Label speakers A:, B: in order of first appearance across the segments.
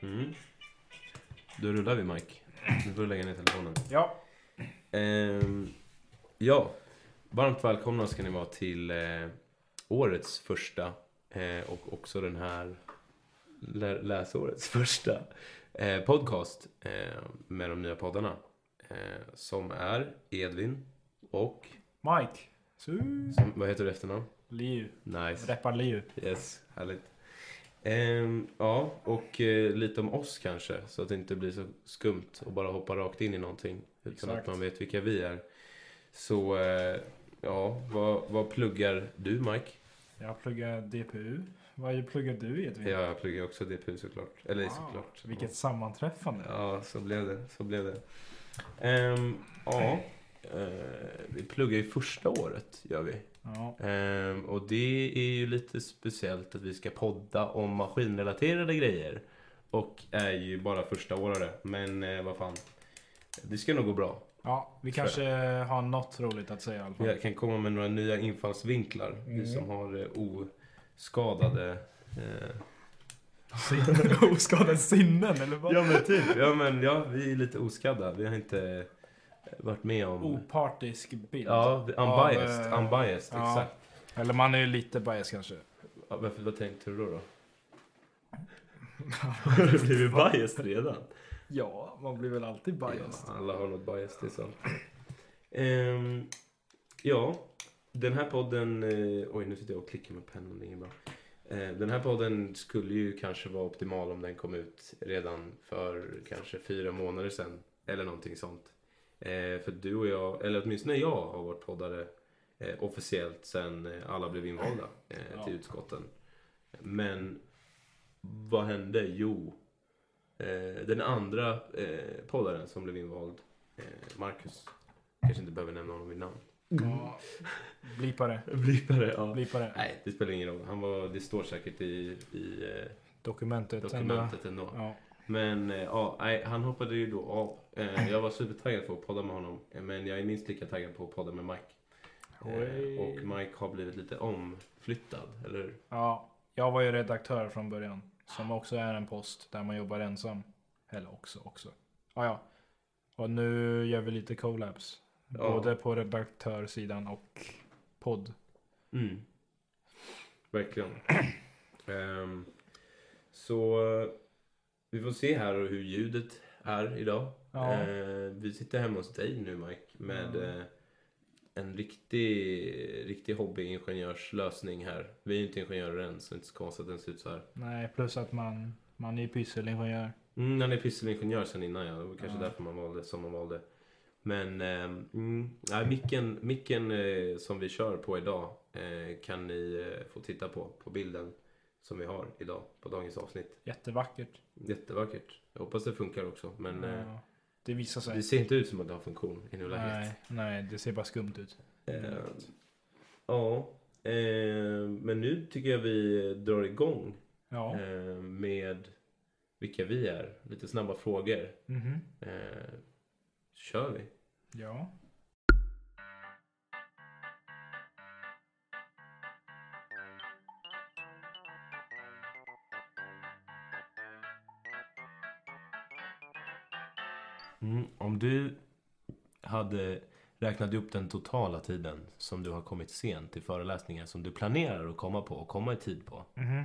A: Mm. Då rullar vi Mike. Nu får du lägga ner telefonen.
B: Ja.
A: Ehm, ja, varmt välkomna ska ni vara till eh, årets första eh, och också den här lä- läsårets första eh, podcast eh, med de nya poddarna. Eh, som är Edvin och,
B: Mike. Su.
A: som, vad heter du i efternamn?
B: Liu.
A: Nice.
B: Räppar Liu.
A: Yes, härligt. Ehm, ja, och eh, lite om oss kanske. Så att det inte blir så skumt och bara hoppa rakt in i någonting. Utan att
B: Exakt.
A: man vet vilka vi är. Så, eh, ja, vad, vad pluggar du Mike?
B: Jag pluggar DPU. Vad pluggar du Edvin?
A: Ja, jag pluggar också DPU såklart. Eller såklart.
B: Mm. Ah, Vilket sammanträffande.
A: Ja, så blev det. Så blev det. Ehm, ja, eh, vi pluggar ju första året gör vi.
B: Ja.
A: Ehm, och det är ju lite speciellt att vi ska podda om maskinrelaterade grejer. Och är ju bara första årare. Men eh, vad fan. Det ska nog gå bra.
B: ja, vi kanske har något roligt att säga i alla fall.
A: Jag kan komma med några nya infallsvinklar. Vi
B: Mm.
A: som har eh, oskadade... Eh...
B: Sinnen. Oskadade sinnen eller vad?
A: Ja men typ. Ja men ja, vi är lite oskadda. Vi har inte eh, varit med om...
B: Opartisk bild.
A: Ja, vi- unbiased.
B: Av, eh,
A: Unbiased,
B: ja.
A: exakt.
B: Eller man är ju lite bias kanske.
A: Ja, Varför, vad tänkte du då? då? Har du blivit biased redan?
B: Ja, man blir väl alltid
A: Ja, alla har något bias, det är sant. Ehm, ja, den här podden... eh, oj, nu sitter jag och klickar med pennan, det är inget bra. Eh, den här podden skulle ju kanske vara optimal om den kom ut redan för kanske fyra månader sedan. Eller någonting sånt. Eh, för du och jag, eller åtminstone jag, har varit poddare eh, officiellt sedan eh, alla blev invalda eh,
B: Ja.
A: till utskotten. Men vad hände? Jo, eh, den andra eh, poddaren som blev invald, eh, Marcus. Kanske inte behöver nämna honom vid namn.
B: Ja. Blipare.
A: Blippare, ja.
B: Blipare.
A: Nej, det spelar ingen roll. Han var, det står säkert i, i eh,
B: Dokumentet. ändå.
A: dokumentet ändå.
B: Ja.
A: Men eh, ja, nej, han hoppade ju då av. Eh, jag var supertaggad på att podda med honom. eh, Men jag är minst lika taggad på att podda med Mike.
B: Oj.
A: Eh, och Mike har blivit lite omflyttad, eller hur?
B: Ja, jag var ju redaktör från början. Som också är en post där man jobbar ensam. Eller också, också. Ja, ja. Och nu gör vi lite collabs.
A: Ja.
B: Både på redaktörsidan och podd.
A: Mm. Verkligen. Ehm, så eh, vi får se här hur ljudet är idag.
B: Ja.
A: Eh, vi sitter hemma hos dig nu Mike med
B: Ja.
A: eh, en riktig, riktig hobbyingenjörslösning här. Vi är ju inte ingenjörer än så det är inte så konstigt att den ser ut så här.
B: Nej, plus att man, man är ju pysselingenjör.
A: Mm, han är pysselingenjör sen innan ja. Det var kanske
B: Ja.
A: därför man valde som man valde. Men ehm, mm, nej, micken, micken eh, som vi kör på idag eh, kan ni eh, få titta på, på bilden som vi har idag på dagens avsnitt.
B: Jättevackert.
A: Jättevackert. Jag hoppas det funkar också. Men eh,
B: Ja. Det visar sig.
A: det ser inte ut som att det har funktion i nuläget.
B: nej, nej, det ser bara skumt ut.
A: Eh, ja, eh, men nu tycker jag vi drar igång
B: Ja.
A: eh, med vilka vi är. Lite snabba frågor.
B: Mhm.
A: Eh, kör vi.
B: Ja.
A: Mm, om du hade räknat upp den totala tiden som du har kommit sent till föreläsningar som du planerar att komma på och komma i tid på.
B: Mhm.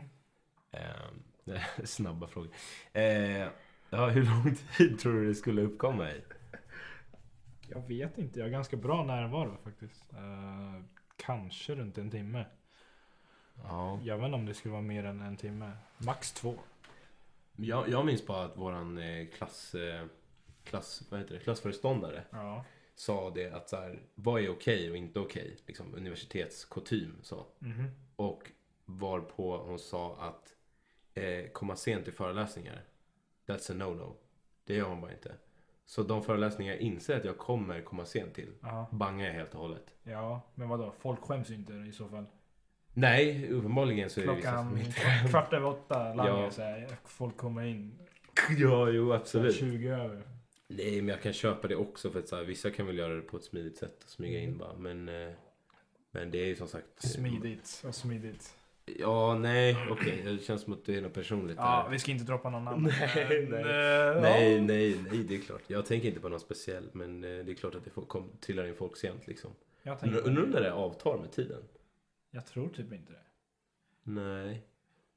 A: Eh, snabba frågor. Eh, ja, hur lång tid tror du det skulle uppkomma i?
B: Jag vet inte. Jag har ganska bra närvaro faktiskt. Eh, kanske runt en timme.
A: Ja.
B: Jag vet inte om det skulle vara mer än en timme. Max två.
A: Jag, jag minns bara att våran eh, klass, eh, klass, vad heter det, klassföreståndare
B: Ja.
A: sa det att så här, vad är okej och inte okej? Liksom universitetskutym så.
B: Mhm.
A: Och varpå hon sa att eh, komma sent till föreläsningar, that's a no-no. Det gör man bara inte. Så de föreläsningar jag inser att jag kommer komma sent till,
B: Ja.
A: bangar jag helt och hållet.
B: ja, men vadå? Folk skäms ju inte i så fall.
A: Nej, uppenbarligen så är det vissa som
B: Klockan
A: inte...
B: kvart över åtta langar
A: Ja.
B: så här. Folk kommer in
A: Ja, jo
B: så här,
A: absolut.
B: 20 över.
A: Nej, men jag kan köpa det också för att så här, vissa kan väl göra det på ett
B: Mm.
A: smidigt sätt och smyga in bara. Men, eh, men det är ju som sagt... eh,
B: Smidigt och smidigt.
A: Ja, nej, okej. Det känns som att du är något personligt
B: Ja,
A: där.
B: vi ska inte droppa någon namn.
A: Nej,
B: Men,
A: nej.
B: eh,
A: Nej,
B: ja.
A: nej, nej, det är klart. Jag tänker inte på något speciellt, men eh, det är klart att det får- kom, trillar in folk sent liksom.
B: Jag, tänker,
A: Undrar om det där avtar med tiden?
B: jag tror typ inte det.
A: Nej.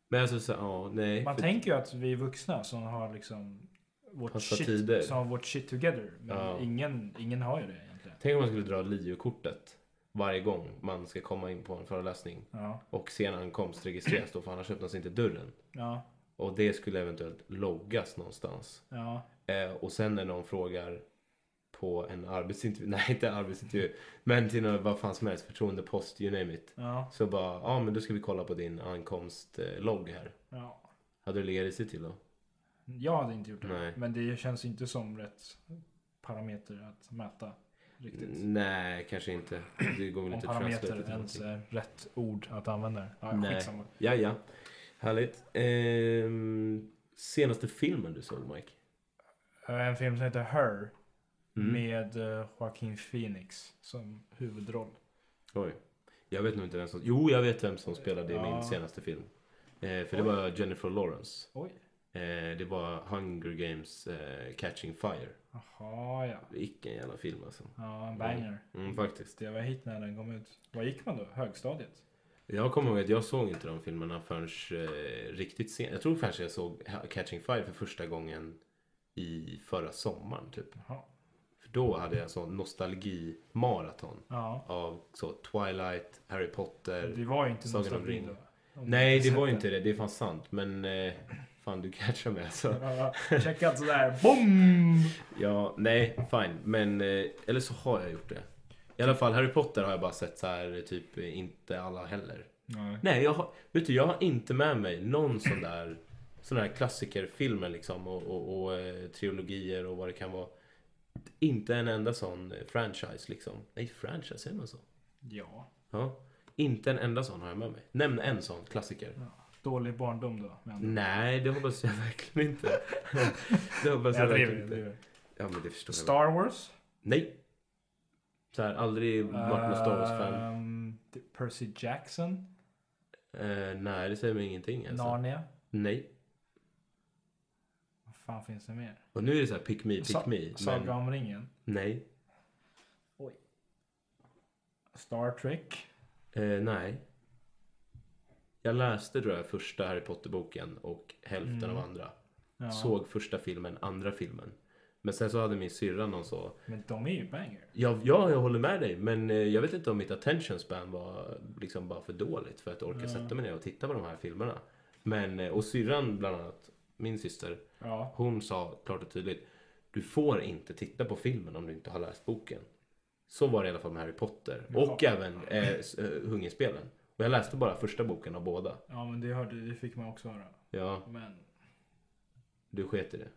A: Men alltså, så, ja, nej.
B: Man
A: för-
B: tänker ju att vi är vuxna som har liksom vårt
A: Passa
B: shit,
A: tider.
B: som har vårt shit together. Men
A: Ja.
B: ingen, ingen har ju det egentligen.
A: Tänk om man skulle dra LIU-kortet varje gång man ska komma in på en föreläsning.
B: Ja,
A: Och sen ankomst registreras då, för annars öppnas inte dörren.
B: ja,
A: Och det skulle eventuellt loggas någonstans.
B: ja.
A: Eh, och sen när någon frågar på en arbetsintervju, nej inte arbetsintervju, men till någon, vad fan som helst, förtroendepost, you name it.
B: ja,
A: Så bara, ja men då ska vi kolla på din ankomstlogg här.
B: ja.
A: Hade du legat risigt till då?
B: Jag hade inte gjort det.
A: Nej.
B: Men det känns inte som rätt parameter att mäta. Riktigt.
A: Mm, Nej, kanske inte. Det går väl
B: Om
A: inte att translate
B: parameter
A: till
B: ens
A: någonting.
B: är rätt ord att använda. det. Ja,
A: Nej.
B: skitsamma.
A: Ja, ja. Härligt. Ehm, senaste filmen du såg Mike?
B: Eh, En film som heter Her
A: Mm.
B: med eh, Joaquin Phoenix som huvudroll.
A: Oj. Jag vet nog inte vem som... Jo, jag vet vem som spelade i
B: Ja.
A: min senaste film. Eh, för det
B: Oj.
A: var Jennifer Lawrence.
B: Oj.
A: Eh, det var Hunger Games eh, Catching Fire.
B: Jaha ja.
A: Vilken jävla film alltså.
B: Ja, en banger.
A: Mm, faktiskt.
B: Det var hit när den kom ut. Vad gick man då? Högstadiet?
A: Jag kommer ihåg att jag såg inte de filmerna förrän eh, riktigt sent. Jag tror kanske jag såg Ha- Catching Fire för första gången i förra sommaren typ.
B: Jaha.
A: För då hade jag sån nostalgi-maraton
B: Ja.
A: av så Twilight, Harry Potter.
B: Det var ju inte
A: Sagan om
B: nostalgi
A: ringen.
B: då. Om du
A: Nej, det
B: sett
A: var ju
B: den.
A: inte Mm. det. Det är fan sant. Men eh, fan, du catchar mig alltså.
B: Ja, Checkat sådär. Boom!
A: Ja, nej, fine. Men, eh, eller så har jag gjort det. I alla fall Harry Potter har jag bara sett så här, typ eh, inte alla heller.
B: Nej.
A: Nej, jag har, vet du, jag har inte med mig någon sån där, sån där klassikerfilmer liksom och, och, och eh, trilogier och vad det kan vara. Inte en enda sån eh, franchise liksom. Nej, franchise, säger man så?
B: Ja.
A: Ja. Inte en enda sån har jag med mig. Nämn en sån klassiker.
B: Mm. Dålig barndom då. Men
A: Nej, det hoppas jag verkligen inte. det hoppas jag,
B: jag driver.
A: verkligen
B: jag
A: inte.
B: driver.
A: Ja, men det förstår jag.
B: Star Wars.
A: Nej. Så här, aldrig varit någon Star Wars-fan.
B: Ehm, Percy Jackson.
A: Eh, nej, det säger mig ingenting. Alltså.
B: Narnia.
A: Nej.
B: Vad fan finns det mer?
A: Och nu är det så här pick me, pick
B: Sa-
A: me.
B: Saga
A: Men
B: om ringen.
A: nej.
B: Star Trek.
A: Eh, nej. Jag läste tror jag första Harry Potter-boken och hälften av andra.
B: Mm. Ja.
A: Såg första filmen, andra filmen. Men sen så hade min syrra någon så.
B: Men de är ju banger.
A: Ja, ja, jag håller med dig. Men eh, jag vet inte om mitt attention span var liksom bara för dåligt för att orka sätta mig ner och titta på de här filmerna. Men, eh, och syrran bland annat, min syster,
B: Ja.
A: Hon sa klart och tydligt Du får inte titta på filmen om du inte har läst boken. Så var det i alla fall med Harry Potter. Och även eh, s- eh, Hungerspelen. Och jag läste bara första boken av båda.
B: Ja men det hörde, det fick man också höra.
A: Ja,
B: Men
A: du sket i det.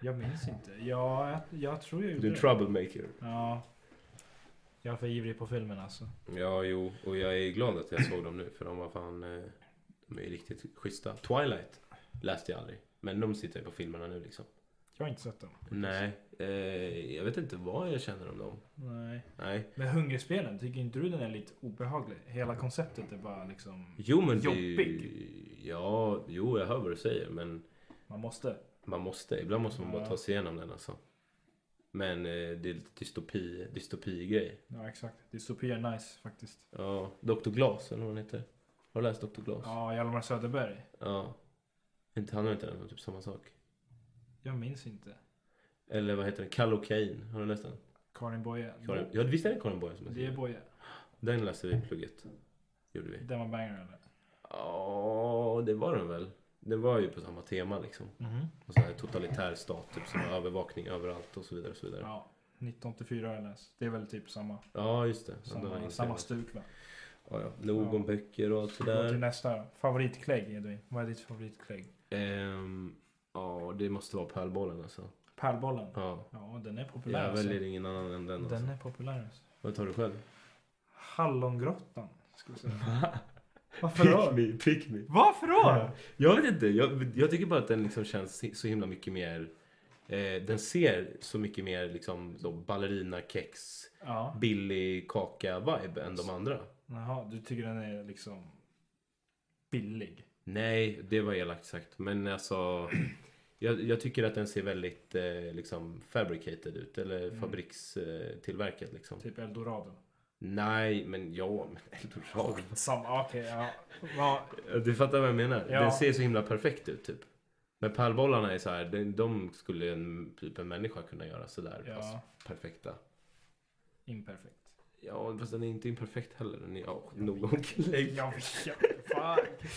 B: jag minns inte. Ja, jag, jag tror jag gjorde
A: Du är
B: det.
A: troublemaker.
B: Ja. Jag är för ivrig på filmen alltså.
A: Ja, jo. Och jag är glad att jag såg dem nu. För de var fan... Eh, de är ju riktigt schyssta. Twilight läste jag aldrig. Men de sitter ju på filmerna nu liksom.
B: Jag har inte sett dem.
A: Nej. Eh, jag vet inte vad jag känner om dem.
B: Nej.
A: Nej.
B: Men Hungerspelen, tycker inte du den är lite obehaglig? Hela konceptet är bara liksom...
A: Jo men det är
B: Jobbig.
A: ju... Ja, jo jag hör vad du säger men...
B: Man måste.
A: Man måste, ibland måste man bara
B: Ja.
A: ta sig igenom den alltså. Men eh, det är lite dystopi, dystopi-grej.
B: Ja exakt. Dystopi är nice faktiskt.
A: Ja, Dr. Glas eller vad han heter. Har du läst Dr. Glas? Ja.
B: Ja, Hjalmar Söderberg.
A: Inte handlar inte den om typ samma sak?
B: Jag minns inte.
A: Eller vad heter den? Kalle och Kane. Har du läst den?
B: Karin Boye.
A: Karin... Ja, visst är det Karin Boye som har
B: Det är
A: skrivit
B: Boye.
A: den? Den läste vi i plugget. Gjorde vi.
B: Den var banger eller?
A: Ja, det var den väl. Det var ju på samma tema liksom. Och så här totalitär stat, typ som har övervakning överallt och så vidare. Och så vidare.
B: Ja. 1984 har jag läst. Det är väl typ samma,
A: Ja, just det. Ja, den har jag
B: samma,
A: inte
B: samma
A: läst.
B: stuk va?
A: Ja, ja. Nog om böcker och allt
B: Gå
A: sådär.
B: till nästa. Favoritklägg Edvin. Vad är ditt favoritklägg?
A: Ehm, ja, det måste vara pärlbollen alltså.
B: Pärlbollen.
A: Ja.
B: Ja, den är populär.
A: Jag
B: Alltså.
A: väljer ingen annan än den. Alltså.
B: Den är populär. Alltså.
A: Vad tar du själv?
B: Hallongrottan. Ska vi säga. Varför då?
A: me, pick me.
B: Varför då?
A: Jag vet inte. Jag, jag tycker bara att den liksom känns si- så himla mycket mer... Eh, den ser så mycket mer liksom så ballerina, kex,
B: Ja.
A: billig kaka-vibe än de andra.
B: Jaha, du tycker den är liksom billig.
A: Nej, det var elakt sagt. Men alltså, jag, jag tycker att den ser väldigt eh, liksom fabricated ut. Eller fabrikstillverkad liksom.
B: Typ Eldorado.
A: Nej, men ja, men Eldorado.
B: Samma, okej. ja. ja.
A: Du fattar vad jag menar?
B: Ja.
A: Den ser så himla perfekt ut typ. Men pärlbollarna är så här, de, de skulle en, typ en människa kunna göra sådär
B: Ja.
A: pass perfekta.
B: Imperfekt.
A: Ja, fast den är inte imperfekt heller. Den är ja, någon lägg.
B: Jag vet. Fuck.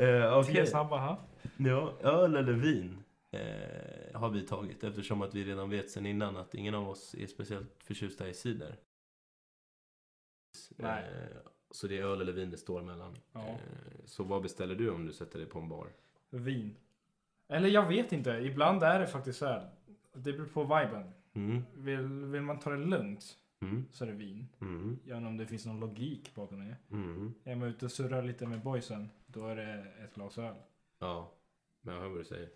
A: Eh, okej.
B: Tre snabba, ha?
A: Ja, öl eller vin eh, har vi tagit eftersom att vi redan vet sen innan att ingen av oss är speciellt förtjusta i cider.
B: Nej.
A: Eh, så det är öl eller vin det står mellan.
B: Ja.
A: Eh, så vad beställer du om du sätter dig på en bar?
B: Vin. Eller jag vet inte. Ibland är det faktiskt så här. Det beror på viben.
A: Mm,
B: Vill, vill man ta det lugnt
A: mm,
B: så är det vin.
A: mm,
B: Jag undrar om det finns någon logik bakom det.
A: mm.
B: Är man ute och surrar lite med boysen, då är det ett glas öl.
A: Ja, men jag hör vad du säger.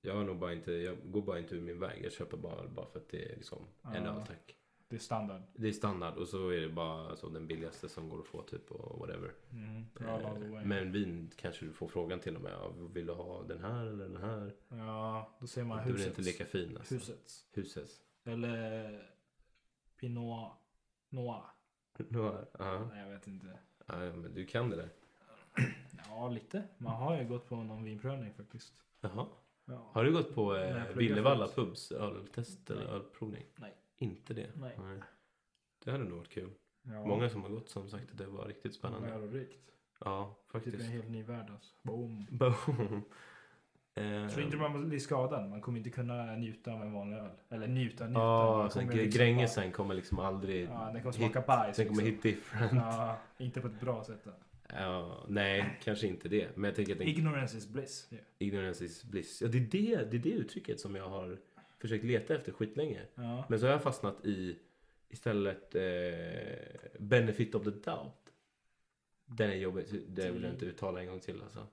A: Jag, har nog bara inte, jag går bara inte ur min väg. Jag köper bara öl bara för att det är liksom en
B: Ja.
A: öl tack.
B: Det är standard.
A: Det är standard och så är det bara så den billigaste som går att få typ och whatever.
B: Mm. Öl all the way.
A: Men vin kanske du får frågan till och med. ja, Vill du ha den här eller den här?
B: Ja, då ser man
A: Du blir
B: husets.
A: inte lika fin alltså.
B: husets.
A: Husets.
B: Eller Pinot Noir.
A: Ja, ja.
B: Nej, jag vet inte.
A: Ja, men du kan det där.
B: Ja, lite. Man har ju gått på någon vinprövning faktiskt.
A: Jaha.
B: Ja.
A: Har du gått på
B: Nej,
A: eh,
B: plugga
A: Billevalla
B: förut.
A: pubs öltest eller
B: Nej.
A: ölprovning?
B: Nej.
A: Inte det?
B: Nej.
A: Det hade nog varit kul.
B: Ja.
A: Många som har gått som sagt att det var riktigt spännande.
B: Lärorikt.
A: Ja,
B: Typ en
A: faktiskt.
B: helt ny värld alltså. Boom.
A: Boom. Ehm,
B: Så inte man blir skadad. Man kommer inte kunna njuta av en vanlig öl. Eller njuta, njuta.
A: Ja,
B: Man
A: sen
B: kommer
A: gr-
B: liksom
A: grängisen kommer liksom
B: bara-
A: aldrig...
B: Ja, den
A: hit-
B: kommer smaka bajs.
A: Den kommer
B: liksom.
A: hit different.
B: Ja, inte på ett bra sätt. Då.
A: Ja, nej, kanske inte det. Men jag tänker att den
B: Ignorance is bliss. Yeah.
A: Ignorance is bliss. Ja, det, är det, det är det uttrycket som jag har försökt leta efter skitlänge.
B: Ja.
A: Men så har jag fastnat i istället eh, benefit of the doubt. Den är jobbig. Det
B: Mm.
A: vill jag inte uttala en gång till alltså.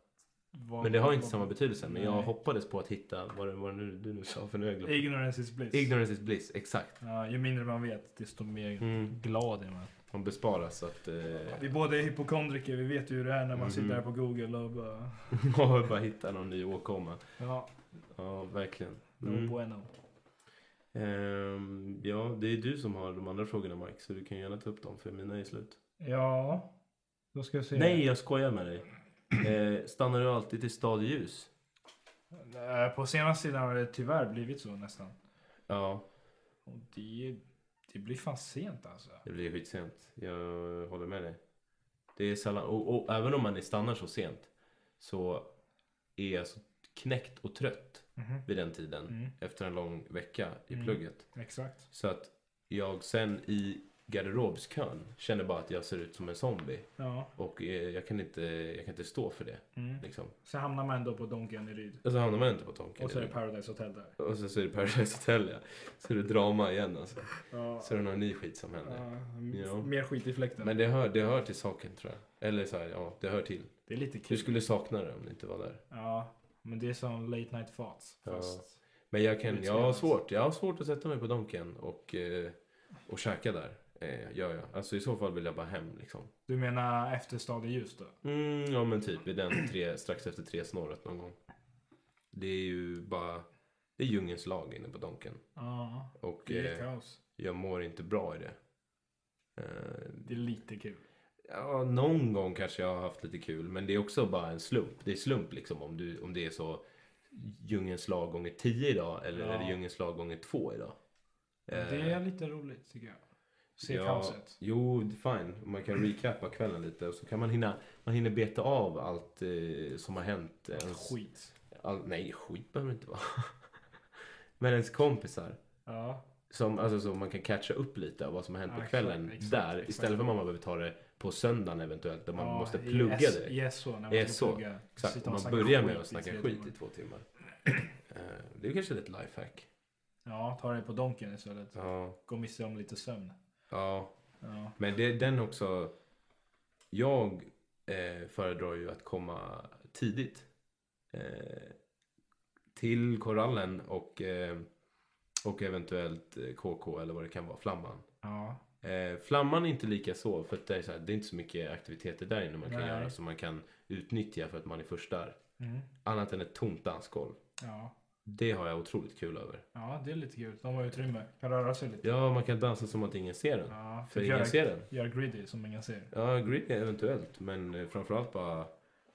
B: Vad-
A: Men det har
B: vad-
A: inte samma betydelse. Men jag
B: Nej.
A: hoppades på att hitta vad det var nu du nu sa för nu
B: Ignorance is bliss.
A: Ignorance is bliss, exakt.
B: ja, ju mindre man vet, desto mer
A: Mm.
B: glad är man.
A: Man besparas så att... Eh,
B: Vi båda är hypokondriker. Vi vet ju hur det är när man sitter
A: Mhm.
B: här på google och bara...
A: man bara hitta någon ny åkomma.
B: Ja,
A: Ja, verkligen.
B: no
A: Mm.
B: bueno.
A: Ehm, ja, det är du som har de andra frågorna Mike, så du kan gärna ta upp dem för mina är slut.
B: Ja, då ska jag se.
A: Nej, jag skojar med dig. Eh, stannar du alltid till stadljus?
B: Eh, På senaste tiden har det tyvärr blivit så nästan.
A: Ja,
B: Och det, det blir fan sent alltså.
A: det blir skitsent. Jag håller med dig. Det är sällan, och, och även om man är stannar så sent så är jag så knäckt och trött vid den tiden
B: Mm,
A: efter en lång vecka i
B: Mm.
A: plugget.
B: exakt.
A: Så att jag sen i garderobskön känner bara att jag ser ut som en zombie
B: Ja.
A: och eh, jag kan inte, jag kan inte stå för det.
B: Mm.
A: Liksom.
B: Så hamnar man ändå på Donken i Ryd.
A: Och så hamnar man inte på Tonken.
B: Och så är det Paradise Hotel där.
A: Och sen så är det Paradise Hotel ja. Så är det drama igen alltså.
B: Ja.
A: Så är det någon ny skit som händer.
B: ja,
A: Ja.
B: Mer skit i fläkten.
A: Men det hör, det hör till saken tror jag. Eller så här, ja det hör till.
B: det är lite
A: Du
B: kul.
A: skulle sakna det om det inte var där.
B: Ja, men det är som late night thoughts.
A: Ja.
B: Fast
A: Men jag kan,
B: Det
A: jag har
B: trevligt.
A: svårt. Jag har svårt att sätta mig på Donken och, eh, och käka där. Eh, gör jag. Alltså i så fall vill jag bara hem liksom.
B: Du menar efter Stad i ljus då?
A: Mm, ja men typ i den tre, strax efter tre snåret någon gång. Det är ju bara, det är djungelns lag inne på Donken.
B: Ja.
A: Och
B: Det är
A: eh,
B: kaos.
A: jag mår inte bra i det. Eh,
B: Det är lite kul.
A: Ja, någon gång kanske jag har haft lite kul. Men det är också bara en slump. Det är slump liksom om, du, om det är så djungelns lag gånger 10 idag eller
B: Ja.
A: är det djungelns lag gånger 2 idag. Eh,
B: Det är lite roligt tycker jag. Se
A: ja,
B: kaoset.
A: Jo, fine. Man kan recappa kvällen lite och så kan man hinna, man hinner beta av allt eh, som har hänt. Ens,
B: Skit.
A: all, nej, skit behöver det inte vara. men ens kompisar.
B: Ja.
A: Som, alltså, så man kan catcha upp lite av vad som har hänt på
B: Ja,
A: kvällen
B: exakt, exakt,
A: där
B: exakt.
A: istället för att man behöver ta det på söndagen eventuellt där man
B: Ja,
A: måste
B: i
A: plugga
B: S-
A: direkt.
B: I SO, när man
A: I
B: ska
A: SO,
B: plugga.
A: Exakt,
B: Sitta och
A: man
B: snacka
A: börjar med
B: skit
A: att
B: i
A: snacka
B: tre
A: skit i
B: timmar.
A: två timmar. Eh, Det är kanske ett lifehack.
B: Ja, ta dig på Donken istället.
A: Ja,
B: Gå miste om lite sömn.
A: ja.
B: Ja.
A: men det, den också. Jag eh, föredrar ju att komma tidigt eh, till korallen och, eh, och eventuellt eh, KK eller vad det kan vara, flamman.
B: ja.
A: Eh, flamman är inte lika så för att det är, så här, det är inte så mycket aktiviteter där inne man kan
B: Nej.
A: göra som man kan utnyttja för att man är först där.
B: Mm.
A: Annat än ett tomt dansgolv.
B: Ja.
A: Det har jag otroligt kul över.
B: ja, det är lite kul. De har utrymme. Kan röra sig lite.
A: Ja, man kan dansa som att ingen ser den.
B: Ja,
A: för
B: fick
A: ingen
B: göra,
A: ser den.
B: göra greedy som ingen ser.
A: Ja, greedy eventuellt. Men eh, framförallt bara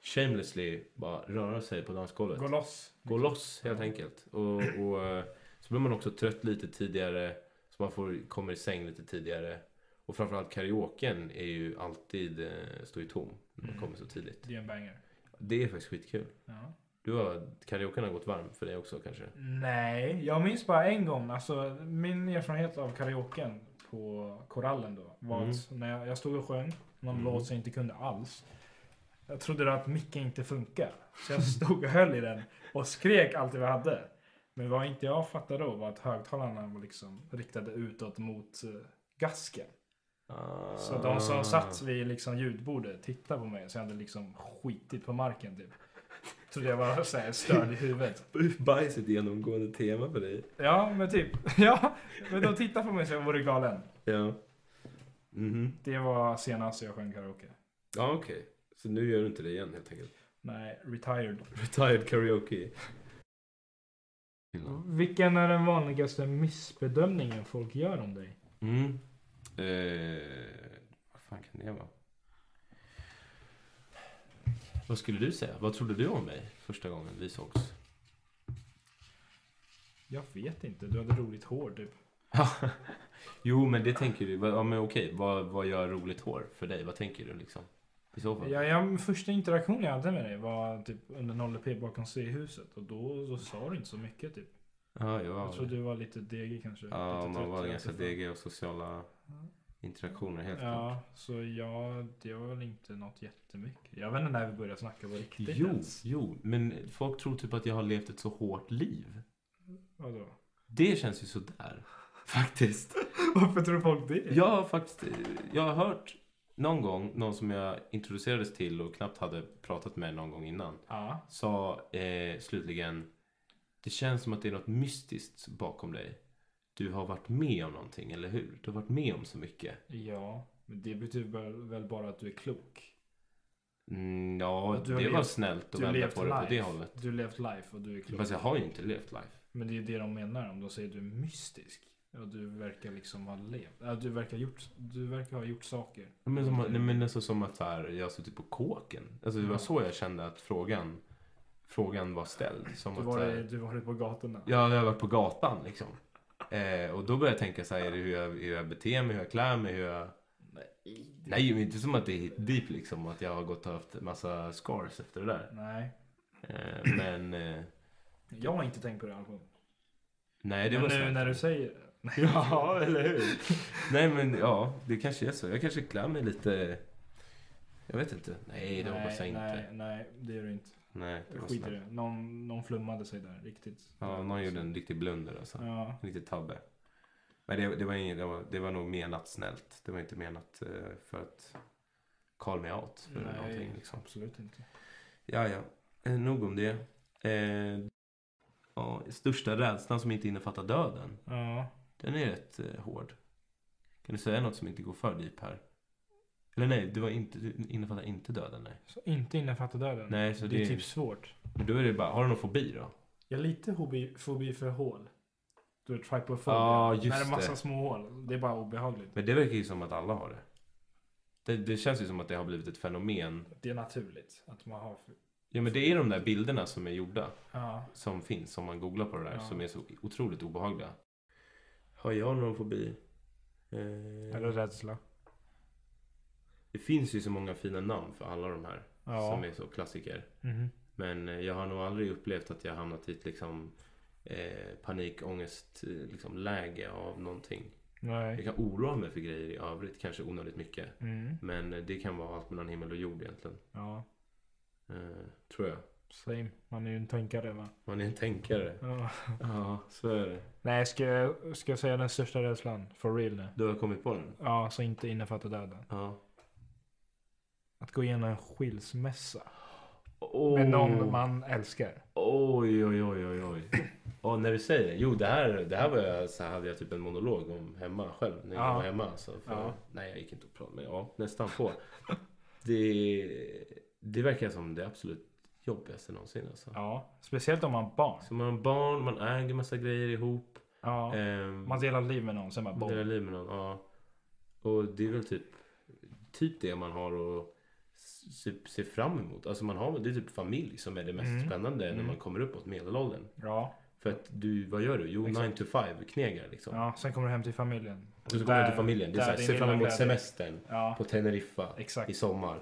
A: shamelessly bara röra sig på dansgolvet.
B: Gå loss.
A: Gå loss helt
B: Ja.
A: enkelt. Och, och eh, så blir man också trött lite tidigare. Så man får, kommer i säng lite tidigare. Och framförallt karaoken är ju alltid, eh, står ju tom när man
B: Mm.
A: kommer så tidigt.
B: Det är en banger.
A: Det är faktiskt skitkul.
B: Ja.
A: Du har, karaoken har gått varm för dig också kanske?
B: Nej, jag minns bara en gång. Alltså, min erfarenhet av karaoken på Korallen då var
A: Mm.
B: att när jag, jag stod och sjöng någon
A: Mm.
B: låt som jag inte kunde alls. Jag trodde att micken inte funkar. Så jag stod och höll i den och skrek allt det vi hade. Men vad inte jag fattade då var att högtalarna var liksom riktade utåt mot eh, gasken. Så de
A: Ah.
B: som satt vid liksom ljudbordet tittade på mig så jag hade liksom skitit på marken typ. Trodde jag var så här störd i huvudet.
A: Bajs är ett genomgående tema för dig.
B: Ja, men typ. Ja, men de tittade på mig så jag vore galen.
A: Ja. Mhm.
B: Det var senast jag sjöng karaoke.
A: Ja, okej. Så nu gör du inte det igen helt enkelt.
B: Nej, retired.
A: Retired karaoke.
B: Vilken är den vanligaste missbedömningen folk gör om dig?
A: Mm. Eh, vad fan kan det vara? Vad skulle du säga? Vad trodde du om mig första gången vi sågs?
B: Jag vet inte, du hade roligt hår typ.
A: jo, men det tänker du. Ja, men okej. Vad, vad gör roligt hår för dig? Vad tänker du liksom? I så fall.
B: Ja, ja, men första interaktionen jag hade med dig var typ under 0P bakom C-huset och då så sa du inte så mycket typ.
A: Ja, jag
B: Jag tror du var lite degig kanske.
A: Ja,
B: lite
A: man
B: trött,
A: var
B: jag
A: ganska
B: vet inte.
A: degig och sociala interaktioner helt klart.
B: Ja, så ja, det var väl inte något jättemycket. Jag vet inte när vi började snacka på riktigt
A: Jo,
B: ens.
A: jo, men folk tror typ att jag har levt ett så hårt liv.
B: Vadå?
A: Det känns ju sådär. Faktiskt.
B: Varför tror folk det?
A: Jag har faktiskt jag har hört någon gång, någon som jag introducerades till och knappt hade pratat med någon gång innan,
B: Ja.
A: sa eh, slutligen Det känns som att det är något mystiskt bakom dig. Du har varit med om någonting, eller hur? Du har varit med om så mycket.
B: Ja, men det betyder väl- väl bara att du är klok.
A: Mm, ja,
B: Att du
A: det
B: har
A: var
B: levt-
A: snällt att
B: Du har
A: vända
B: levt
A: på det på det hållet.
B: Du har levt life och du är klok.
A: Fast jag har ju inte levt life.
B: Men det är ju det de menar om de säger du är mystisk. Ja, du verkar liksom ha levt. Ja, du, verkar gjort, du verkar ha gjort saker.
A: Ja, Men, som,
B: Mm.
A: nej, men alltså som att så här, jag har suttit på kåken. Alltså, det var så jag kände att frågan, frågan var ställd. Som
B: Du
A: att,
B: var,
A: så här-
B: du har varit på gatorna.
A: Ja, jag har varit på gatan liksom. Eh, och då började jag tänka så här, är det hur jag, hur jag beter mig, hur jag klär mig, hur jag... Nej, men inte som att det är hit deep liksom, att jag har gått och haft massa scars efter det där.
B: Nej,
A: Eh, men eh,
B: jag har inte tänkt på det alls.
A: nej, det var
B: men nu
A: snällt.
B: när du säger det.
A: Ja, eller hur? nej, men ja, det kanske är så. Jag kanske klär mig lite... Jag vet inte. Nej, det hoppas jag inte.
B: Nej,
A: Nej,
B: nej, det gör du inte.
A: det var
B: Skit i
A: snällt.
B: det. Någon, någon flummade sig där, riktigt.
A: Ja, någon gjorde en riktig blunder alltså.
B: Ja.
A: En riktig tabbe. Men det, det, var ingen, det, var, det var nog menat snällt. Det var inte menat eh, för att call me out för
B: Nej,
A: någonting. Liksom.
B: absolut inte.
A: Ja, ja. Eh, nog om det. Eh, ja, största rädslan som inte innefattar döden.
B: Ja.
A: Den är rätt eh, hård. Kan du säga något som inte går för deep här? Eller nej, det var inte, du innefattar inte döden. Nej.
B: Så inte innefattar döden.
A: Nej, så
B: det, är
A: det-
B: typ svårt.
A: Men då är det bara, har du någon fobi då?
B: Jag har lite hobi, fobi för hål. Du har tripofobia.
A: Ja, just
B: När det är massa
A: det.
B: små hål. Det är bara obehagligt.
A: Men det verkar ju som att alla har det. Det, det känns ju som att det har blivit ett fenomen.
B: Det är naturligt att man har...
A: Ja men det är de där bilderna som är gjorda.
B: Ja.
A: som finns om man googlar på det där
B: Ja.
A: som är så otroligt obehagliga. Har jag någon fobi? Eh,
B: Eller rädsla.
A: det finns ju så många fina namn för alla de här
B: Ja.
A: som är så klassiker.
B: Mhm.
A: Men eh, jag har nog aldrig upplevt att jag hamnat i ett liksom, eh, panikångestläge liksom, läge av någonting. Jag
B: Nej.
A: kan oroa mig för grejer i övrigt, kanske onödigt mycket.
B: Mm.
A: Men eh, det kan vara allt mellan himmel och jord egentligen.
B: Ja.
A: Eh, tror jag.
B: Same. Man är ju en tänkare va?
A: Man är en tänkare.
B: Ja.
A: Ja, så är det.
B: Nej, ska jag, ska jag säga den största rädslan? For real nu.
A: Du har kommit på den?
B: Ja, så inte innefattar döden.
A: Ja.
B: Att gå igenom en skilsmässa.
A: Oh.
B: Med någon man älskar.
A: Oj, oj, oj, oj, oj. Ja, när du säger det. Jo, det här, det här var jag, så här hade jag typ en monolog om hemma själv. När jag
B: Ja.
A: var hemma. Så för,
B: Ja.
A: Nej, jag gick inte och pratade. Men ja, nästan på. Det, det verkar som det absolut jobbigaste någonsin. Alltså.
B: Ja, speciellt om man har barn.
A: Så man har barn, man äger massa grejer ihop.
B: Ja.
A: ehm,
B: Man delar liv med någon, sen bara
A: Dela
B: boom.
A: liv med någon, ja. Och det är väl typ, typ det man har att s- typ se fram emot. Alltså man har, det är typ familj som är det mest
B: Mm.
A: spännande när
B: Mm.
A: man kommer uppåt medelåldern.
B: Ja.
A: För att du, vad gör du? Jo,
B: Exakt.
A: 9 to 5 knegar liksom.
B: ja, sen kommer du hem till familjen.
A: Och så kommer du
B: Där-
A: till familjen. Det är
B: där
A: så här,
B: din
A: se fram
B: lilla
A: emot
B: glädje.
A: semestern
B: Ja,
A: på Teneriffa i
B: exakt.
A: sommar.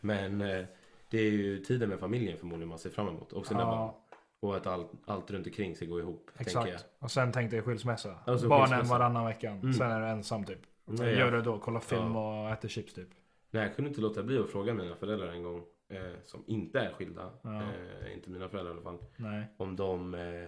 A: Men eh, det är ju tiden med familjen förmodligen man ser fram emot. Och sina barn.
B: Ja,
A: Och att allt, allt runt omkring ska gå ihop. Tänker jag.
B: exakt. Och sen tänkte jag skilsmässa.
A: Alltså,
B: Barnen
A: skilsmässa.
B: varannan veckan.
A: Mm.
B: Sen är du ensam typ.
A: Ja,
B: Vad
A: ja.
B: gör du då? Kollar film och äter chips typ.
A: Nej, jag kunde inte låta bli att fråga mina föräldrar en gång, eh, som inte är skilda,
B: Ja.
A: eh, inte mina föräldrar i alla fall,
B: Nej.
A: om de, eh,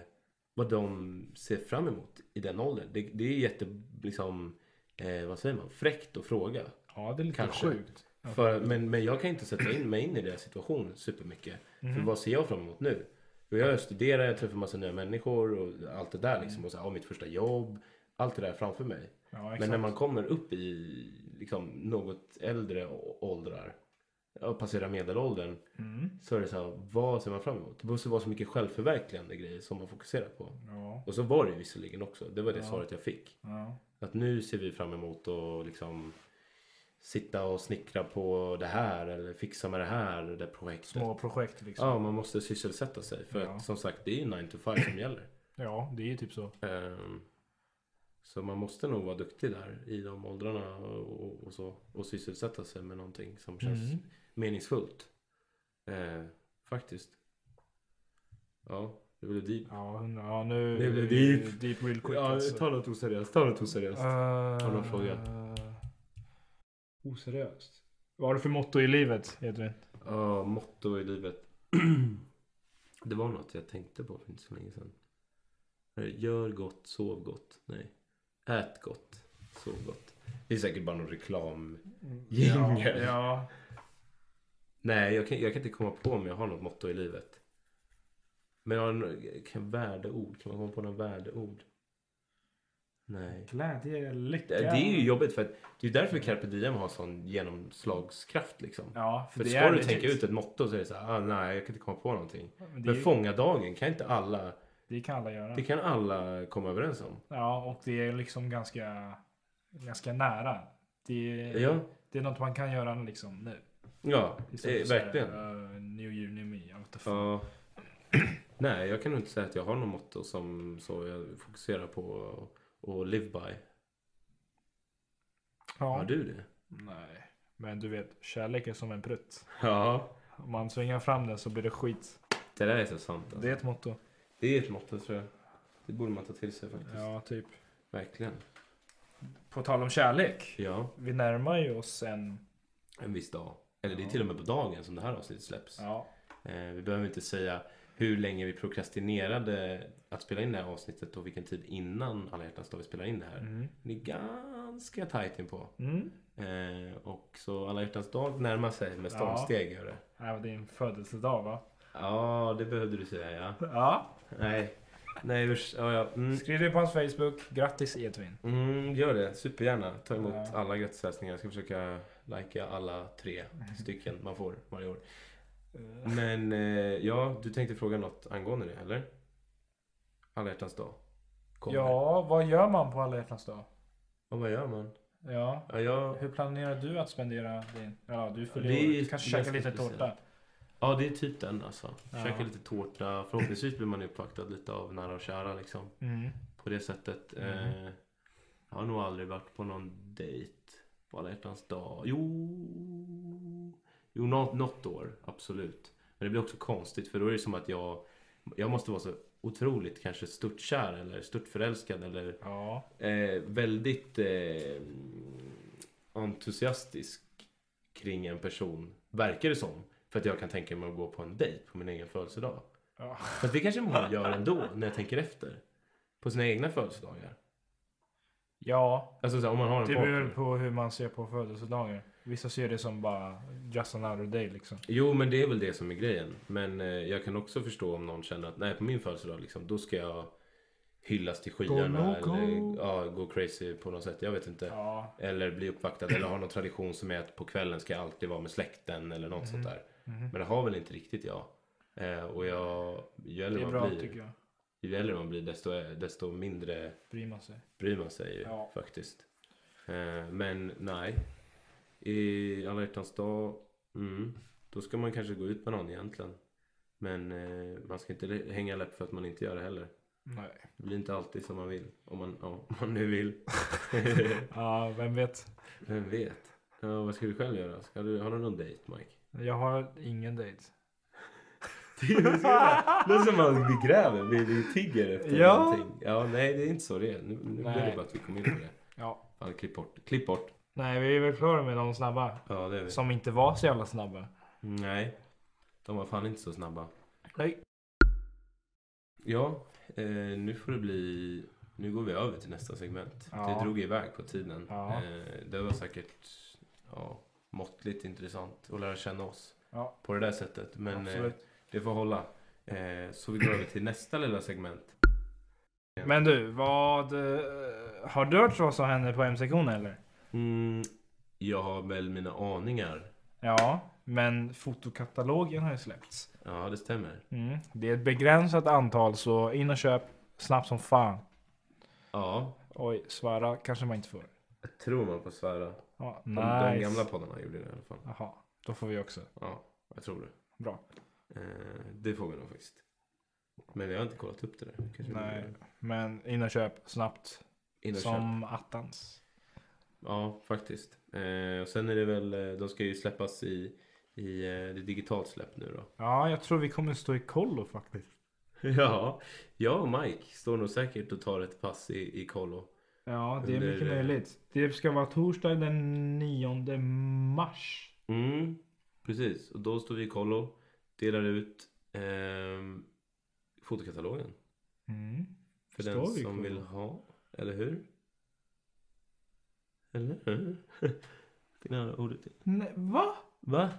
A: vad de ser fram emot i den åldern. Det, det är jätte, liksom, eh, vad säger man, fräckt att fråga.
B: Ja, det är lite
A: Kanske.
B: sjukt. Ja.
A: För, men, men jag kan inte sätta in mig in i deras situation supermycket.
B: Mhm.
A: För vad ser jag fram emot nu? Och jag studerar, jag träffar massa nya människor och allt det
B: Mm.
A: där liksom. Och så här, ja, mitt första jobb. Allt det där framför mig.
B: Ja, exakt.
A: Men när man kommer upp i liksom, något äldre å- åldrar och passerar medelåldern
B: Mm.
A: så är det så här, vad ser man fram emot? Det måste vara så mycket självförverkligande grejer som man fokuserar på.
B: Ja.
A: Och så var det ju visserligen också, det var det
B: Ja.
A: svaret jag fick.
B: ja.
A: Att nu ser vi fram emot att liksom sitta och snickra på det här eller fixa med det här, det projektet.
B: Små projekt liksom.
A: Ja, man måste sysselsätta sig för
B: Ja.
A: att som sagt det är ju 9 to 5 som gäller.
B: Ja, det är ju typ så.
A: Ehm, Så man måste nog vara duktig där i de åldrarna och, och, och så. Och sysselsätta sig med någonting som känns
B: Mm.
A: meningsfullt. Eh, faktiskt. Ja, det blev deep.
B: Ja, hundra. Ja, nu...
A: Det blev deep.
B: Deep real quick
A: Ja,
B: alltså.
A: ta något oseriöst. Ta något oseriöst.
B: Har
A: någon fråga?
B: Eh, Oseriöst. Vad har du för motto i livet, Edvin?
A: Ja, motto i livet. det var något jag tänkte på för inte så länge sedan. Eh, Gör gott, sov gott. Nej. Ät gott, sov gott. Det är säkert bara någon reklam. Jingel.
B: Ja, ja.
A: Nej, jag kan, jag kan inte komma på om jag har något motto i livet. Men jag har en, kan, värdeord. Kan man komma på några värdeord? Nej.
B: Glädje, lycka.
A: Det, det är ju jobbigt för att det är därför Carpe Diem har sån genomslagskraft liksom.
B: Ja, för
A: För
B: det
A: ska
B: är
A: du
B: legit.
A: tänka ut ett motto så är det så här, ah, nej jag kan inte komma på någonting.
B: Men det,
A: Men
B: är, ju-
A: fånga dagen kan inte alla,
B: det kan alla göra.
A: det kan alla komma överens om.
B: Ja, och det är liksom ganska, ganska nära. Det är,
A: Ja,
B: det är något man kan göra liksom nu.
A: ja
B: Istället
A: eh,
B: för
A: verkligen.
B: Så här, eh, new year, new me. Jag vet inte fan.
A: Ja. Nej, jag kan nog inte säga att jag har något motto som så jag fokuserar på och, och live by. Har
B: Ja.
A: du det?
B: Nej. Men du vet, kärlek är som en prutt.
A: Ja.
B: Om man svingar fram den så blir det skit.
A: Det där är så sant. Alltså.
B: Det är ett motto.
A: Det är ett motto tror jag. Det borde man ta till sig faktiskt.
B: Ja, typ.
A: Verkligen.
B: På tal om kärlek.
A: Ja,
B: Vi närmar ju oss en...
A: en viss dag. Eller det är
B: Ja.
A: till och med på dagen som det här avsnittet släpps.
B: Ja.
A: Eh, vi behöver inte säga hur länge vi prokrastinerade att spela in det här avsnittet och vilken tid innan alla hjärtans dag vi spelar in det här.
B: Mm.
A: Det är ganska tajt inpå.
B: Mm.
A: Eh, och så alla hjärtans dag närmar sig med
B: Ja.
A: stormsteg gör det.
B: Nej, men det är en födelsedag va?
A: Ja, det behövde du säga ja.
B: Ja.
A: Nej, nej usch. Ja, ja. Mm.
B: Skriv det på hans Facebook. Grattis Edvin.
A: Mm, gör det, supergärna. Ta emot
B: Ja.
A: alla grattishälsningar. Jag ska försöka likea alla tre
B: Mm.
A: stycken man får varje år. Men eh, ja, du tänkte fråga något angående det, eller? Alla hjärtans dag. Kommer.
B: Ja, vad gör man på alla hjärtans dag?
A: Och vad gör man?
B: Ja.
A: Ja, jag...
B: Hur planerar du att spendera din... Ja, du fyller
A: Det är
B: år.
A: ju
B: Du kanske käkar
A: ganska
B: lite
A: speciellt.
B: tårta.
A: ja det är typ den alltså.
B: Ja.
A: Käka lite tårta. Förhoppningsvis blir man uppvaktad lite av nära och kära liksom.
B: Mm.
A: På det sättet.
B: Mhm.
A: Eh, jag har nog aldrig varit på någon dejt på alla hjärtans dag. Jo, jo något, något år, absolut. Men det blir också konstigt för då är det som att jag, jag måste vara så otroligt kanske störtkär eller störtförälskad eller
B: Ja.
A: eh, väldigt eh, entusiastisk kring en person, verkar det som. För att jag kan tänka mig att gå på en dejt på min egen födelsedag.
B: Ja.
A: Fast det kanske man gör ändå när jag tänker efter. På sina egna födelsedagar.
B: Ja,
A: Alltså så här, om man har en
B: det beror
A: partner.
B: på hur man ser på födelsedagar. Vissa ser det som bara just another day liksom.
A: Jo, men det är väl det som är grejen. Men eh, jag kan också förstå om någon känner att nej, på min födelsedag liksom, då ska jag hyllas till skyarna
B: loco.
A: eller ja, gå crazy på något sätt. Jag vet inte.
B: Ja.
A: Eller bli uppvaktad eller ha någon tradition som är att på kvällen ska jag alltid vara med släkten eller något sånt där.
B: Mhm.
A: Men det har väl inte riktigt jag. Eh, och jag, ju
B: Det
A: äldre,
B: är
A: man
B: bra
A: blir,
B: tycker jag.
A: ju äldre man blir desto, desto mindre
B: Bryr man sig.
A: bryr man sig ju
B: Ja.
A: faktiskt. Eh, men nej. I alla hjärtans dag. Mm, då ska man kanske gå ut med någon egentligen. Men eh, man ska inte hänga läpp för att man inte gör det heller.
B: Nej.
A: Det blir inte alltid som man vill. Om man, ja, om man nu vill.
B: Ja, vem vet.
A: Vem vet? Ja, vad ska du själv göra? Ska du, har du någon dejt Mike?
B: Jag har ingen dejt.
A: Låter som att vi gräver, vi, vi tigger efter
B: Ja.
A: någonting. Ja, nej det är inte så det är. Nu, nu blev det
B: Nej.
A: bara att vi kom in på det.
B: Ja.
A: Fan, klipp bort. Klipp bort.
B: Nej, vi är väl klara med de snabba.
A: Ja, det är vi.
B: Som inte var så jävla snabba.
A: Nej, de var fan inte så snabba.
B: Nej.
A: Ja, eh, nu får det bli... Nu går vi över till nästa segment.
B: Ja.
A: Det drog iväg på tiden.
B: Ja.
A: Eh, det var säkert ja, måttligt intressant att lära känna oss
B: Ja.
A: på det där sättet. Men eh,
B: Absolut.
A: det får hålla. Eh, så vi går över till nästa lilla segment.
B: Men du, vad... eh, Har du hört vad som hände på M-sektionen eller?
A: Mm, jag har väl mina aningar.
B: Ja, men fotokatalogen har ju släppts.
A: Ja, det stämmer.
B: Mm. Det är ett begränsat antal, så in och köp snabbt som fan.
A: Ja,
B: Oj, svara kanske man inte får.
A: jag tror man på svära.
B: Ja,
A: De, de
B: nice.
A: gamla poddarna gjorde det i alla fall.
B: Jaha, då får vi också.
A: Ja, jag tror det.
B: Bra.
A: Eh, det får vi nog faktiskt. Men jag har inte kollat upp det där. Kanske vi
B: Nej.
A: borde
B: Men in och köp snabbt.
A: in och köpa.
B: som attans.
A: Ja, faktiskt. Eh, och sen är det väl, eh, de ska ju släppas i, i eh, det är digitalt släpp nu då.
B: Ja, jag tror vi kommer stå i kollo faktiskt.
A: ja, jag och Mike står nog säkert och tar ett pass i, i kollo.
B: Ja, det är
A: Under,
B: mycket
A: eh,
B: möjligt. Det ska vara torsdag den 9 mars.
A: Mm, precis. Och då står vi i kollo, delar ut ehm, fotokatalogen.
B: Mm.
A: För
B: Står
A: den
B: vi i
A: som
B: kollo?
A: vill ha, eller hur? Eller hur? Fick ni höra ordet?
B: Nej, va?
A: typ. Va?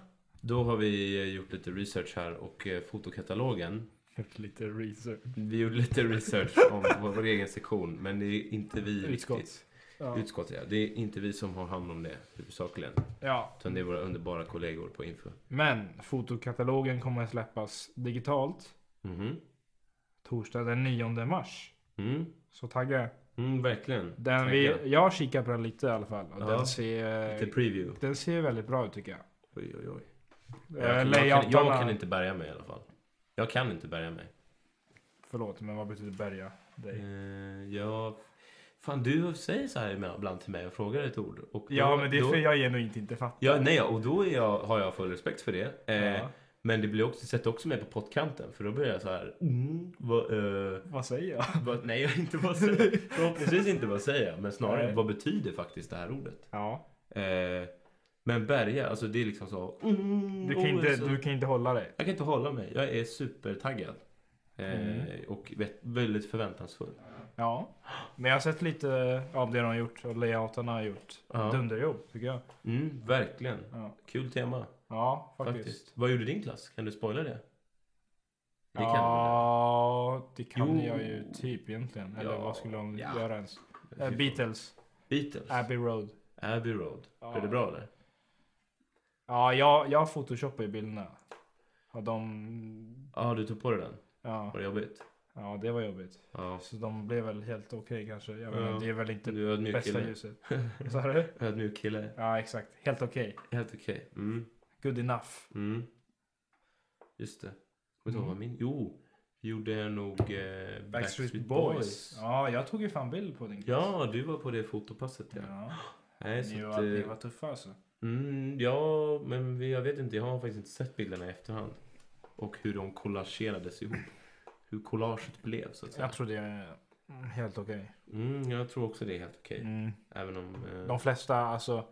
A: Då har vi eh, gjort lite research här och eh, fotokatalogen.
B: Lite research.
A: Vi gjorde lite research om vår, vår egen sektion men det är inte vi riktigt.
B: Utskott. Ja.
A: Utskott ja. Det är inte vi som har hand om det huvudsakligen.
B: ja,
A: Utan det är våra underbara kollegor på Info.
B: men fotokatalogen kommer att släppas digitalt
A: Mhm.
B: torsdag den 9 mars.
A: Mm.
B: Så tagga.
A: Mm, verkligen.
B: Den
A: Tagga.
B: vi, jag kikar på den lite i alla fall. Och
A: Ja.
B: den, ser,
A: Lite preview.
B: den ser väldigt bra ut tycker jag.
A: Oj, oj, oj.
B: Eh,
A: Jag, kan, jag, kan,
B: layoutarna-
A: jag kan inte bärga mig i alla fall. Jag kan inte bärga mig.
B: Förlåt, men vad betyder bärga dig?
A: Eh, jag... Fan, du säger så här ibland till mig och frågar ett ord. Och då,
B: Ja, men det är
A: då-
B: för jag genuint inte fattar.
A: Ja, nej, ja, och då är jag, har jag full respekt för det. Eh,
B: Ja.
A: Men det blir också, sätter också mig på pottkanten för då blir jag så här. Mm, vad, eh,
B: Vad säger jag?
A: vad, nej, jag inte vad säger jag? Förhoppningsvis inte vad säger jag, men snarare
B: Nej.
A: vad betyder faktiskt det här ordet?
B: Ja,
A: Eh, men bärga, alltså det är liksom så. Mm,
B: du kan,
A: oh,
B: inte,
A: så-
B: du kan inte hålla dig.
A: Jag kan inte hålla mig. Jag är supertaggad.
B: Mm.
A: Eh, Och vet, väldigt förväntansfull.
B: Ja, men jag har sett lite av det de har gjort och layoutarna har gjort.
A: Ja.
B: Dunderjobb tycker jag.
A: Mm, verkligen.
B: Ja,
A: Kul tema.
B: ja faktiskt.
A: Faktiskt. Vad gjorde din klass? Kan du spoila det? Det kan
B: ja, det kan
A: Jo.
B: jag ju typ egentligen. Eller
A: Ja.
B: vad skulle de
A: Ja.
B: göra ens?
A: du väl?
B: Eh, Beatles,
A: Beatles. Abbey,
B: Abbey Road.
A: Road.
B: Ja.
A: Blev det bra eller?
B: Ja, jag, jag photoshoppar ju bilderna. Och de...
A: Ja, du tog på dig den.
B: Ja,
A: Var det jobbigt?
B: ja, det var jobbigt.
A: Ja.
B: Så de blev väl helt okej kanske. Jag vet
A: Ja.
B: inte, det är väl inte
A: Du är ödmjuk
B: bästa
A: kille.
B: ljuset. Sa du?
A: Ödmjuk kille.
B: Ja, exakt. Helt okej.
A: Helt okej. Mm.
B: Good enough.
A: Mm. Just det. Kommer inte ihåg
B: Mm.
A: vad min... Jo. Gjorde jag nog eh, Backstreet,
B: Backstreet
A: Boys.
B: Boys. Ja, jag tog ju fan bild på din
A: Ja, du var på det fotopasset ja.
B: ja.
A: Nej,
B: Ni,
A: så
B: var,
A: att,
B: ni
A: eh,
B: var tuffa alltså.
A: Mm, ja, men vi- jag vet inte. Jag har faktiskt inte sett bilderna i efterhand. Och hur de collagerades ihop. Hur collaget blev så att säga.
B: Jag tror det är mm, helt okej.
A: Mm, jag tror också det är helt okej.
B: Mm.
A: Även om... Eh,
B: De flesta alltså.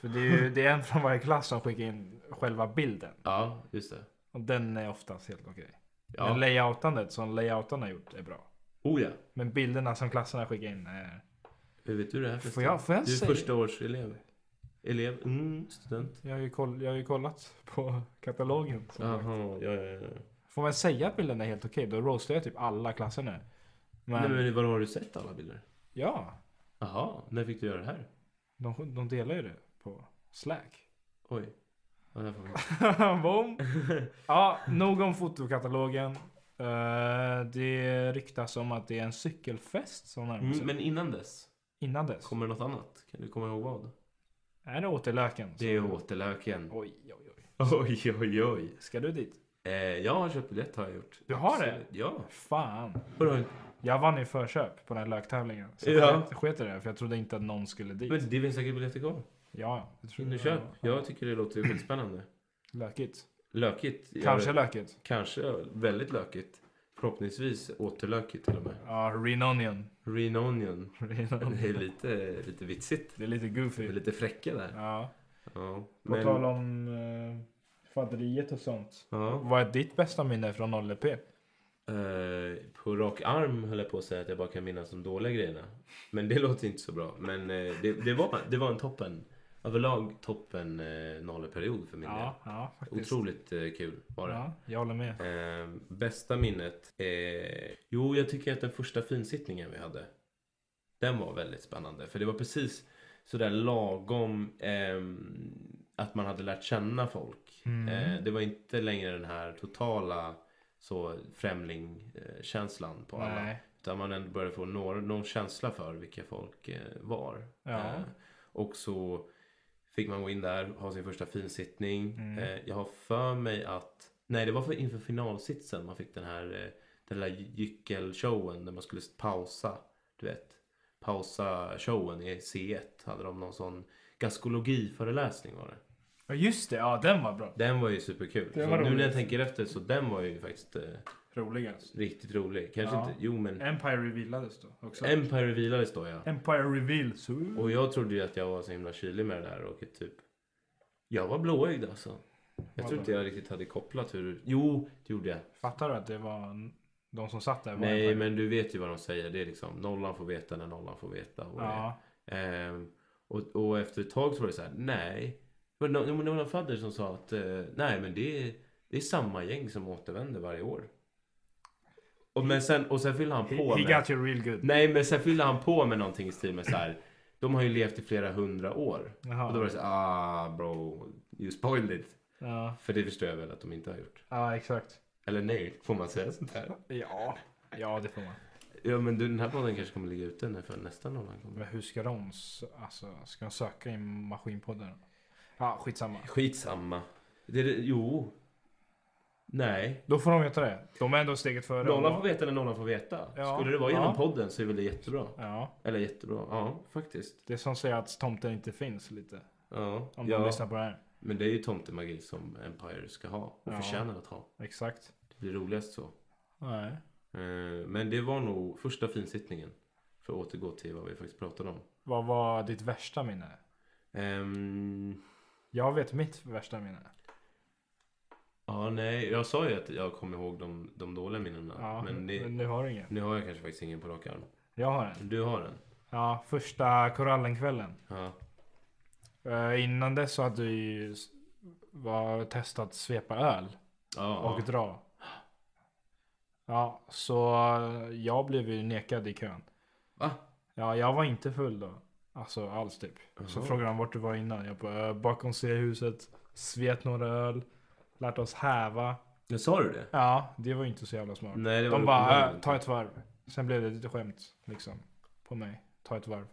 B: För det är ju det är en från varje klass som skickar in själva bilden.
A: Ja, just det.
B: Och den är oftast helt okej. Men
A: Ja.
B: layoutandet som layoutarna har gjort är bra.
A: Oh ja.
B: Men bilderna som klasserna skickar in är...
A: Hur vet du det här förresten?
B: Får jag, får jag
A: Du är
B: säga?
A: första års elev. Elev? Mm, student?
B: Jag har ju, koll, jag har ju kollat på katalogen. som sagt.
A: Jaha, ja, ja, ja.
B: Får man säga att bilden är helt okej, då roastar jag typ alla klasser nu. Men,
A: Nej, men var har du sett alla bilder?
B: ja,
A: Jaha, när fick du göra det här?
B: de, de delar ju det på Slack.
A: Oj. Ja, där får vi-
B: Boom! Ja, nog om fotokatalogen. Eh, det ryktas om att det är en cykelfest som närmar sig.
A: Mm, men innan dess,
B: Innan dess.
A: kommer något annat? Kan du komma ihåg vad?
B: Är det återlöken?
A: Det är
B: som-
A: återlöken.
B: Oj, oj, oj.
A: Oj, oj, oj.
B: Ska du dit?
A: Eh, jag har köpt biljett har jag gjort.
B: Du har det?
A: Absolut. Ja.
B: Fan.
A: Vadå?
B: Jag vann i förköp på den här löktävlingen. Så
A: Ja.
B: jag sket- sket i det, för jag trodde inte att någon skulle dit.
A: Men det finns säkert biljetter kvar.
B: ja, jag tror
A: Nu köp. Jag tycker det låter skitspännande.
B: Lökigt.
A: Lökigt. Jag-
B: Kanske lökigt.
A: Kanske väldigt lökigt. Förhoppningsvis återlökigt till och med.
B: Ja, Green Onion.
A: Green Onion.
B: Green
A: Det är
B: Onion.
A: lite, lite vitsigt.
B: det är lite
A: Vi är
B: goofy.
A: lite fräcka där.
B: Ja.
A: Ja.
B: På tal om eh, faderiet och sånt.
A: Ja.
B: Vad är ditt bästa minne från 0EP?
A: Eh, på rak arm höll jag på att säga att jag bara kan minnas de dåliga grejerna. Men det låter inte så bra. Men eh, det, det, var, det var en toppen. Överlag toppen eh, nolleperiod för min
B: Ja, ja,
A: del.
B: faktiskt.
A: Otroligt eh, kul var det.
B: Ja, jag håller med.
A: Eh, bästa minnet? Eh, jo, jag tycker att den första finsittningen vi hade. Den var väldigt spännande. För det var precis sådär lagom ehm, att man hade lärt känna folk.
B: Mm.
A: Eh, det var inte längre den här totala så främlingkänslan på alla.
B: Nej.
A: Utan man ändå började få några, någon känsla för vilka folk eh, var.
B: Ja.
A: Eh, och så fick man gå in där ha sin första finsittning.
B: Mm.
A: Eh, jag har för mig att, nej det var för, inför finalsitsen man fick den här eh, den där gyckelshowen där man skulle pausa. Du vet, pausa showen i C1 hade de någon sån gaskologiföreläsning var det.
B: Ja, just det. Ja, den var bra.
A: Den var ju superkul.
B: Det
A: så
B: var
A: nu när jag
B: roligt.
A: tänker efter så den var ju faktiskt eh,
B: Roligast.
A: riktigt rolig. Kanske
B: Ja. Eh,
A: inte, jo men
B: Empire revealades då också.
A: Empire vilades då ja.
B: Empire reveal. Så...
A: Och jag trodde ju att jag var så himla kylig med det där och typ Jag var blåögd alltså Jag tror inte jag riktigt hade kopplat hur Jo, det gjorde jag
B: Fattar du att det var n- de som satt där? Var
A: Nej
B: Empire?
A: men du vet ju vad de säger Det är liksom nollan får veta när nollan får veta och, det.
B: Ja.
A: Ehm, och, och efter ett tag så var det så här: Nej Det var no- jo, men det var någon fadder som sa att eh, Nej men det är, det är samma gäng som återvänder varje år och, men sen, och sen fyllde han på
B: He, he
A: med-
B: got you real good.
A: Nej men sen fyllde han på med någonting i stil med så här. De har ju levt i flera hundra år.
B: Jaha.
A: Och då var det så här, ah bro, you spoiled it.
B: Ja.
A: För det förstår jag väl att de inte har gjort.
B: ja, exakt.
A: Eller nej, får man säga sånt här?
B: Ja. Ja, det får man.
A: Ja men du, den här podden kanske kommer ligga ute när för nästa nollan
B: Men
A: kommer.
B: hur ska de... s- Alltså, ska de söka i maskinpodden? Ja, skitsamma.
A: Skitsamma. Det, är det, jo. Nej.
B: Då får de veta det. De är ändå steget före.
A: Nollan får veta när nollan får veta.
B: Ja.
A: Skulle det vara genom
B: Ja.
A: podden så är väl det jättebra.
B: Ja.
A: Eller jättebra, ja faktiskt.
B: Det är som säger att tomten inte finns lite.
A: Ja,
B: Om de
A: ja.
B: lyssnar på det här.
A: men det är ju tomtemagi som Empire ska ha och
B: Ja.
A: förtjänar att ha.
B: Exakt.
A: Det blir roligast så.
B: Nej.
A: Eh, Men det var nog första finsittningen. För att återgå till vad vi faktiskt pratade om.
B: Vad var ditt värsta minne?
A: Ehm,
B: Jag vet mitt värsta minne.
A: ja, nej. Jag sa ju att jag kom ihåg de, de dåliga minnena.
B: Ja,
A: men det,
B: nu har du ingen.
A: nu har jag kanske faktiskt ingen på rak arm.
B: Jag har en.
A: Du har en?
B: Ja, första korallenkvällen.
A: Ja.
B: Eh, innan dess så hade du ju s- var, testat svepa öl
A: Ja,
B: och
A: ja.
B: dra. Ja, så jag blev ju nekad i kön.
A: Va?
B: Ja, jag var inte full då. Alltså alls typ. Så
A: Jaha.
B: frågade han vart du var innan. Jag bara, "Eh, bakom C-huset, svet några öl, lärt oss häva.
A: Men Sa du det?
B: Ja, det var ju inte så jävla smart.
A: Nej, det var
B: De bara,
A: uppenbarligen
B: "Eh, ta
A: inte.
B: ett varv. Sen blev det lite skämt liksom. På mig. Ta ett varv.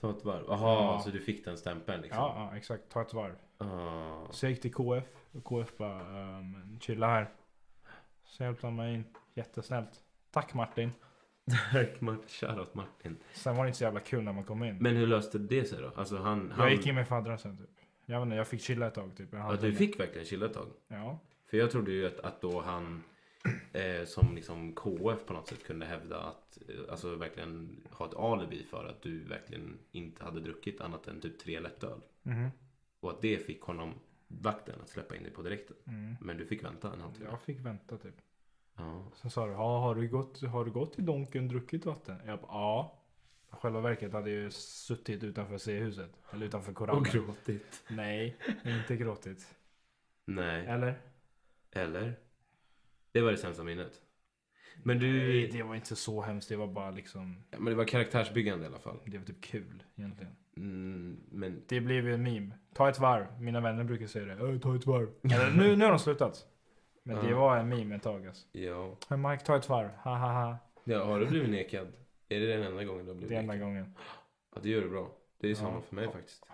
A: Ta ett varv. Jaha,
B: Ja.
A: så du fick den stämpeln liksom?
B: Ja, ja, exakt. Ta ett varv.
A: Ah.
B: Så jag gick till KF och KF bara ehm, chilla här. Så hjälpte han mig in jättesnällt. Tack Martin.
A: Tack Martin. Shoutout Martin.
B: Sen var det inte så jävla kul när man kom in.
A: Men hur löste det sig då? Alltså han... han
B: Jag gick in med faddern sen typ. Jag vet inte, jag fick chilla ett tag typ. en
A: Ja,
B: halvtimme.
A: du fick verkligen chilla ett tag.
B: Ja.
A: För jag trodde ju att, att då han eh, som liksom KF på något sätt kunde hävda att, eh, alltså verkligen ha ett alibi för att du verkligen inte hade druckit annat än typ tre lättöl.
B: Mhm.
A: Och att det fick honom, vakten, att släppa in dig på direkten.
B: Mm.
A: Men du fick vänta en halvtimme.
B: Jag fick vänta typ.
A: Ja.
B: Sen sa du, ja, har, du gått, har du gått till Donken och druckit vatten? Jag bara, ja. själva verket hade ju suttit utanför C-huset. Eller utanför Koranen.
A: Och gråtit.
B: Nej, inte gråtit.
A: Nej.
B: Eller?
A: Eller? Det var det sämsta minnet. Men du...
B: Nej, det var inte så hemskt. Det var bara liksom,
A: Ja, men det var karaktärsbyggande i alla fall.
B: det var typ kul egentligen.
A: Mm, men
B: Det blev ju en meme. Ta ett varv. Mina vänner brukar säga det. "Äh, Ta ett varv. Eller, nu, nu har de slutat. Men det
A: Ja.
B: var en meme ett tag alltså.
A: ja.
B: "Hey, Mike, ta ett varv. Ha ha ha.
A: ja. Har du blivit nekad? Är det den enda gången du har blivit
B: Det är enda
A: nekad?
B: gången.
A: Ja, det gör du bra. Det är samma
B: Ja.
A: för mig faktiskt.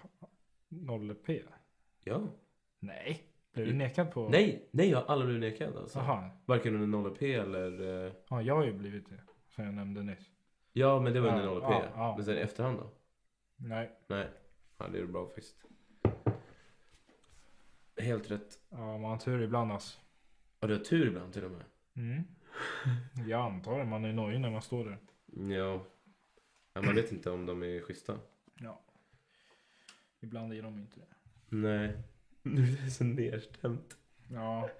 B: 0p?
A: Ja.
B: Nej. Blev du nekad på?
A: Nej, nej jag har aldrig blivit nekad alltså.
B: Jaha.
A: Varken under 0P eller... eh,
B: Ja, jag har ju blivit det. Som jag nämnde nyss.
A: Ja, men det var
B: Ja,
A: under 0P.
B: ja, ja.
A: Men sen i efterhand då?
B: Nej.
A: Nej. Ja, det är bra faktiskt. Helt rätt.
B: Ja, man har tur ibland alltså.
A: Ja, du har tur ibland till och med.
B: Mm. Jag antar det. Man är nojig när man står där.
A: Ja. ja man vet inte om de är schyssta.
B: Ibland är de inte det.
A: Nej. Nu är det så nedstämt.
B: Ja.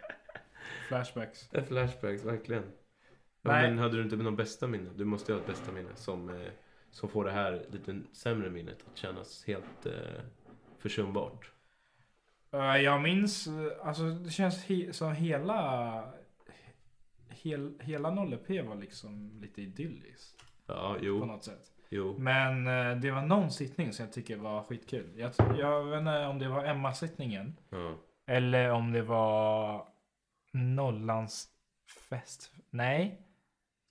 B: Flashbacks.
A: Det är flashbacks, verkligen. Ja,
B: Nej.
A: men hade du inte någon bästa minne? Du måste ju ha ett bästa minne som, eh, som får det här lite sämre minnet att kännas helt eh, försumbart.
B: Eh, Jag minns, eh, alltså det känns he- som hela hel, Hela 0P var liksom lite idylliskt
A: Ja,
B: på
A: jo,
B: något sätt.
A: jo.
B: Men eh, det var någon sittning som jag tycker var skitkul. Jag, jag vet inte om det var Emma-sittningen
A: Ja.
B: eller om det var Nollans fest. Nej,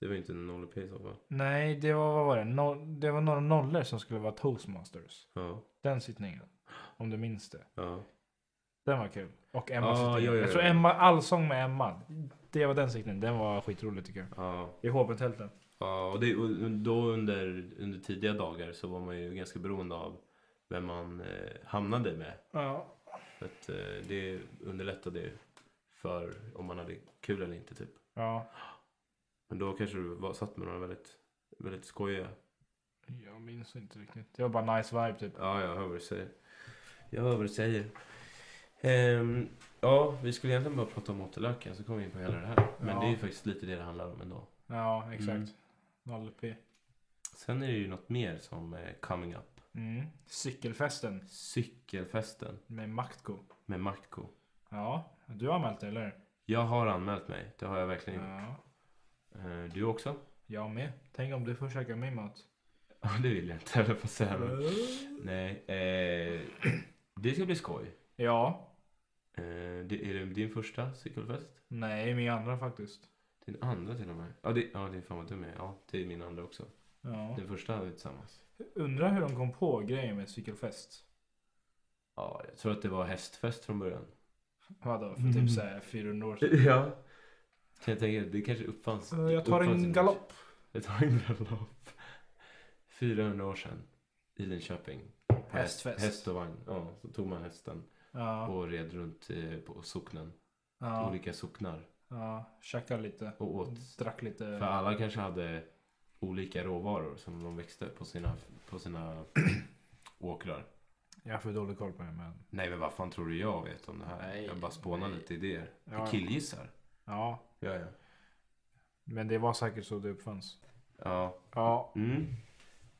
A: Det var ju inte en 0P i så fall.
B: nej, det var vad var det? No, det var några nollor som skulle vara toastmasters.
A: Ja,
B: Den sittningen, om du minns det.
A: ja.
B: Den var kul. Och Emma
A: Ah,
B: sitter
A: jo, jo,
B: Jag
A: jo.
B: tror Emma, Allsång med Emma. Det var den siktningen. Den var skitrolig tycker jag.
A: ja.
B: I Hobbitälten.
A: Ja, och, det, och då under, under tidiga dagar så var man ju ganska beroende av vem man eh, hamnade med.
B: Ja.
A: För att, eh, det underlättade ju för om man hade kul eller inte typ.
B: Ja.
A: Men då kanske du var, satt med några väldigt, väldigt skojiga.
B: Jag minns inte riktigt. Det var bara nice vibe typ.
A: Ja, jag hör vad du säger. Jag hör vad du säger. Ehm, ja, vi skulle egentligen bara prata om återlöken så kom vi in på hela det här. Men
B: Ja.
A: det är ju faktiskt lite det det handlar om ändå.
B: Ja, exakt.
A: Mm.
B: 0P.
A: Sen är det ju något mer som är coming up.
B: Mm. Cykelfesten
A: Cykelfesten
B: med Maktko.
A: med Martko.
B: Ja, du har anmält dig eller? hur?
A: Jag har anmält mig, det har jag verkligen gjort.
B: Ja.
A: Eh, Du också?
B: Jag med. Tänk om du får käka min mat.
A: Ja, det vill jag inte, höll jag på att säga. men- Nej, eh, det ska bli skoj.
B: Ja.
A: Eh, det, är det din första cykelfest?
B: Nej, min andra faktiskt.
A: Din andra till och med? Ja, det, ja, det är fan vad dum jag är. Ja, det är min andra också.
B: Ja.
A: Den första hade vi tillsammans.
B: Undrar hur de kom på grejen med cykelfest.
A: Ja, jag tror att det var hästfest från början.
B: Vadå, för
A: Mm.
B: typ såhär 400 år sedan.
A: Ja. Kan jag tänka, det kanske uppfanns.
B: Eh, Jag tar
A: uppfanns i-
B: en galopp.
A: Jag tar en galopp. 400 år sedan. I Linköping. På
B: Hästfest.
A: Häst och vagn. Ja, så tog man hästen.
B: Ja,
A: och red runt eh, på socknen.
B: ja,
A: Olika socknar
B: ja. Käka lite.
A: och åt.
B: Drack lite.
A: För alla kanske hade olika råvaror som de växte på sina, på sina åkrar.
B: Jag har för dålig koll på det men.
A: Nej men vad fan tror du jag vet om det här?
B: Nej,
A: jag bara spånar
B: nej.
A: lite idéer.
B: Ja.
A: Jag killgissar.
B: Ja.
A: Ja, ja.
B: Men det var säkert så det uppfanns.
A: ja.
B: Ja.
A: Mm.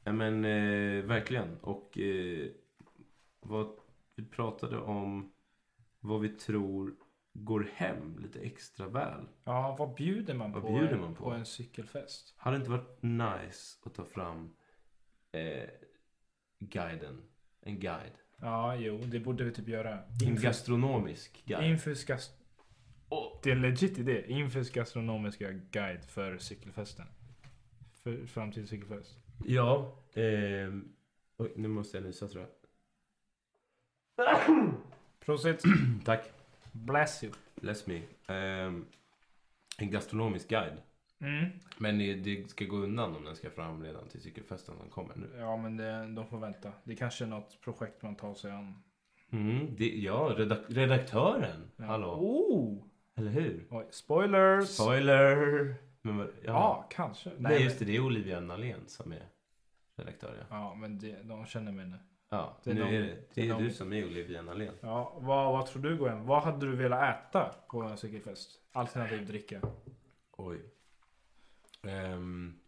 A: Ja, men eh, verkligen. Och eh, vad vi pratade om vad vi tror går hem lite extra väl.
B: Ja, vad bjuder man,
A: Vad
B: på,
A: bjuder
B: en-
A: man på?
B: på en cykelfest?
A: Hade det inte varit nice att ta fram eh, guiden? En guide.
B: Ja, jo, det borde vi typ göra.
A: En gastronomisk guide.
B: Infus gas-
A: Åh,
B: Det är en legit idé. Infus gastronomiska guide för cykelfesten. För framtida cykelfest.
A: ja. ehm, oj, nu måste jag nysa tror jag.
B: Prosit.
A: Tack.
B: Bless you.
A: Bless me. Ehm, en gastronomisk guide.
B: Mm.
A: Men det- det ska gå undan om den ska fram redan till cykelfesten som kommer nu.
B: Ja, men det, de får vänta. Det kanske är något projekt man tar sig an.
A: Mm, det, ja, redak- redaktören.
B: Ja.
A: Hallå.
B: Oh!
A: Eller hur?
B: Oj, spoilers!
A: Spoiler! Men, vad-
B: Ja,
A: ja.
B: kanske. Nej,
A: Nej, just
B: men-
A: det. Det är Olivia Nalén som är redaktör. Ja.
B: Ja, men det, de känner mig nu.
A: Ja,
B: Det är
A: nu
B: de-
A: är det,
B: det är
A: det är
B: de-
A: du som är Olivia Nalén.
B: Ja, vad, vad tror du Goen? Vad hade du velat äta på en cykelfest? Alternativ dricka.
A: Oj. Ehm,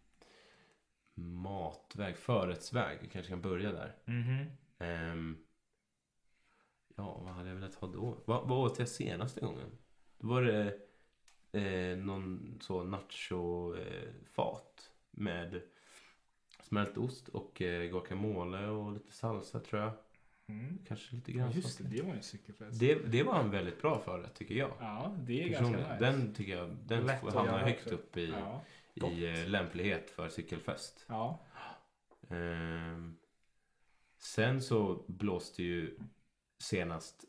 A: mat haftväg, förrättsväg. Vi kanske kan börja där.
B: Mhm.
A: Ehm, ja, vad hade jag velat ha då? Vad, vad åt jag senaste gången? Då var det eh, någon så nacho-fat med smält ost och eh, guacamole och lite salsa tror jag.
B: Mm.
A: Kanske lite
B: Ja,
A: grann.
B: Just det,
A: det.
B: det var ju en cykelfest.
A: Det, var en väldigt bra förrätt tycker jag.
B: Ja, det är ganska
A: Personligen.
B: nice.
A: Den tycker jag den
B: Lätt att
A: hamnar
B: göra
A: högt
B: också.
A: upp i,
B: Ja. gott.
A: i eh, lämplighet för cykelfest.
B: ja.
A: Ehm, sen så blåste ju senast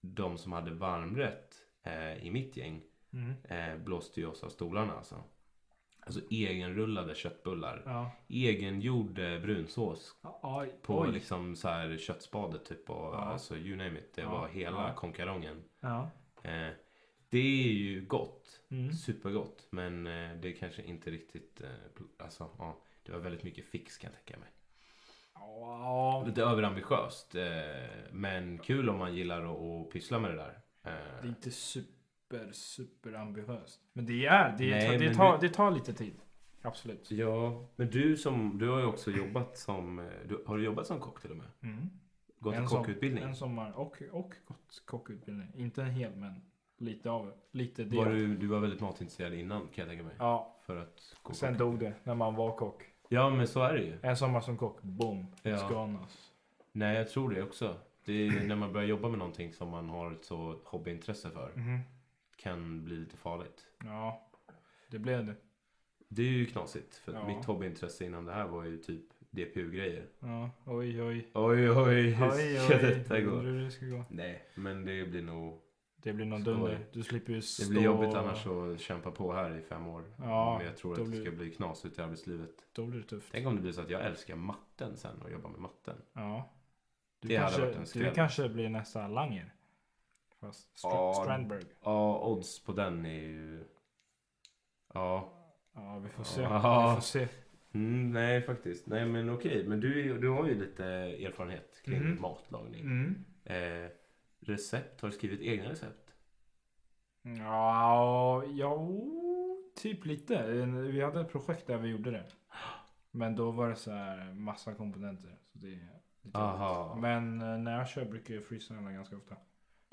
A: de som hade varmrätt eh, i mitt gäng
B: Mm.
A: eh, blåste ju oss av stolarna alltså. Alltså egenrullade köttbullar.
B: ja.
A: Egengjord eh, brunsås
B: ja.
A: på
B: Oj.
A: liksom så här köttspadet typ och
B: Ja.
A: alltså you name it. Det
B: Ja,
A: var hela
B: ja.
A: konkarongen.
B: Ja.
A: Eh, det är ju gott.
B: Mm.
A: Supergott. Men eh, det är kanske inte riktigt, eh, pl- alltså ja. Det var väldigt mycket fix kan jag tänka mig.
B: Ja,
A: Lite överambitiöst. eh, Men kul om man gillar att, att pyssla med det där. Eh,
B: det är inte super, super ambitiöst. Men det är, det,
A: Nej,
B: tar, det,
A: men
B: tar, det tar lite tid. Absolut.
A: Ja, men du, som, du har ju också jobbat som... eh, Du, har du jobbat som kock till och med?
B: Mm.
A: Gått en
B: som-
A: kockutbildning?
B: En sommar och, och gott kockutbildning. Inte en hel men lite av lite del.
A: var du, du var väldigt matintresserad innan kan jag tänka mig.
B: Ja,
A: För att gå
B: sen
A: kock.
B: dog det när man var kock.
A: Ja, men så är det ju.
B: En sommar som kock, boom,
A: Ja.
B: skanas.
A: Nej, jag tror det också. Det är ju när man börjar jobba med någonting som man har ett så hobbyintresse för.
B: Mhm.
A: Kan bli lite farligt.
B: Ja, det blev det.
A: Det är ju knasigt. För
B: Ja.
A: mitt hobbyintresse innan det här var ju typ DPU-grejer.
B: Ja, oj oj.
A: Oj, oj, hur
B: Oj,
A: ska
B: oj.
A: detta gå?
B: Undrar hur det ska gå.
A: Nej, men det blir nog...
B: Det blir någon
A: Skoj.
B: dunder. Du slipper ju
A: Det
B: stå...
A: blir jobbigt annars att kämpa på här i fem år.
B: Ja,
A: men jag tror
B: då
A: att det
B: blir-
A: ska bli knas ut i arbetslivet.
B: Då blir det tufft.
A: Tänk om det blir så att jag älskar matten sen och jobbar med matten.
B: Ja. Du
A: Det hade
B: kanske,
A: varit en skräll.
B: Du kanske blir nästa Langer. Fast Stra-
A: Ja.
B: Strandberg.
A: Ja, odds på den är ju... Ja.
B: Ja, vi får se.
A: Ja.
B: Vi får se.
A: Mm, nej, faktiskt. Nej, men okej. Men du, är ju- du har ju lite erfarenhet kring
B: Mhm.
A: matlagning.
B: Mm.
A: Eh, recept? Har du skrivit egna recept?
B: Ja, ja, typ lite. Vi hade ett projekt där vi gjorde det. Men då var det så här massa komponenter. Så det är lite
A: Aha.
B: jobbigt. Men eh, när jag kör brukar jag freestyla ganska ofta.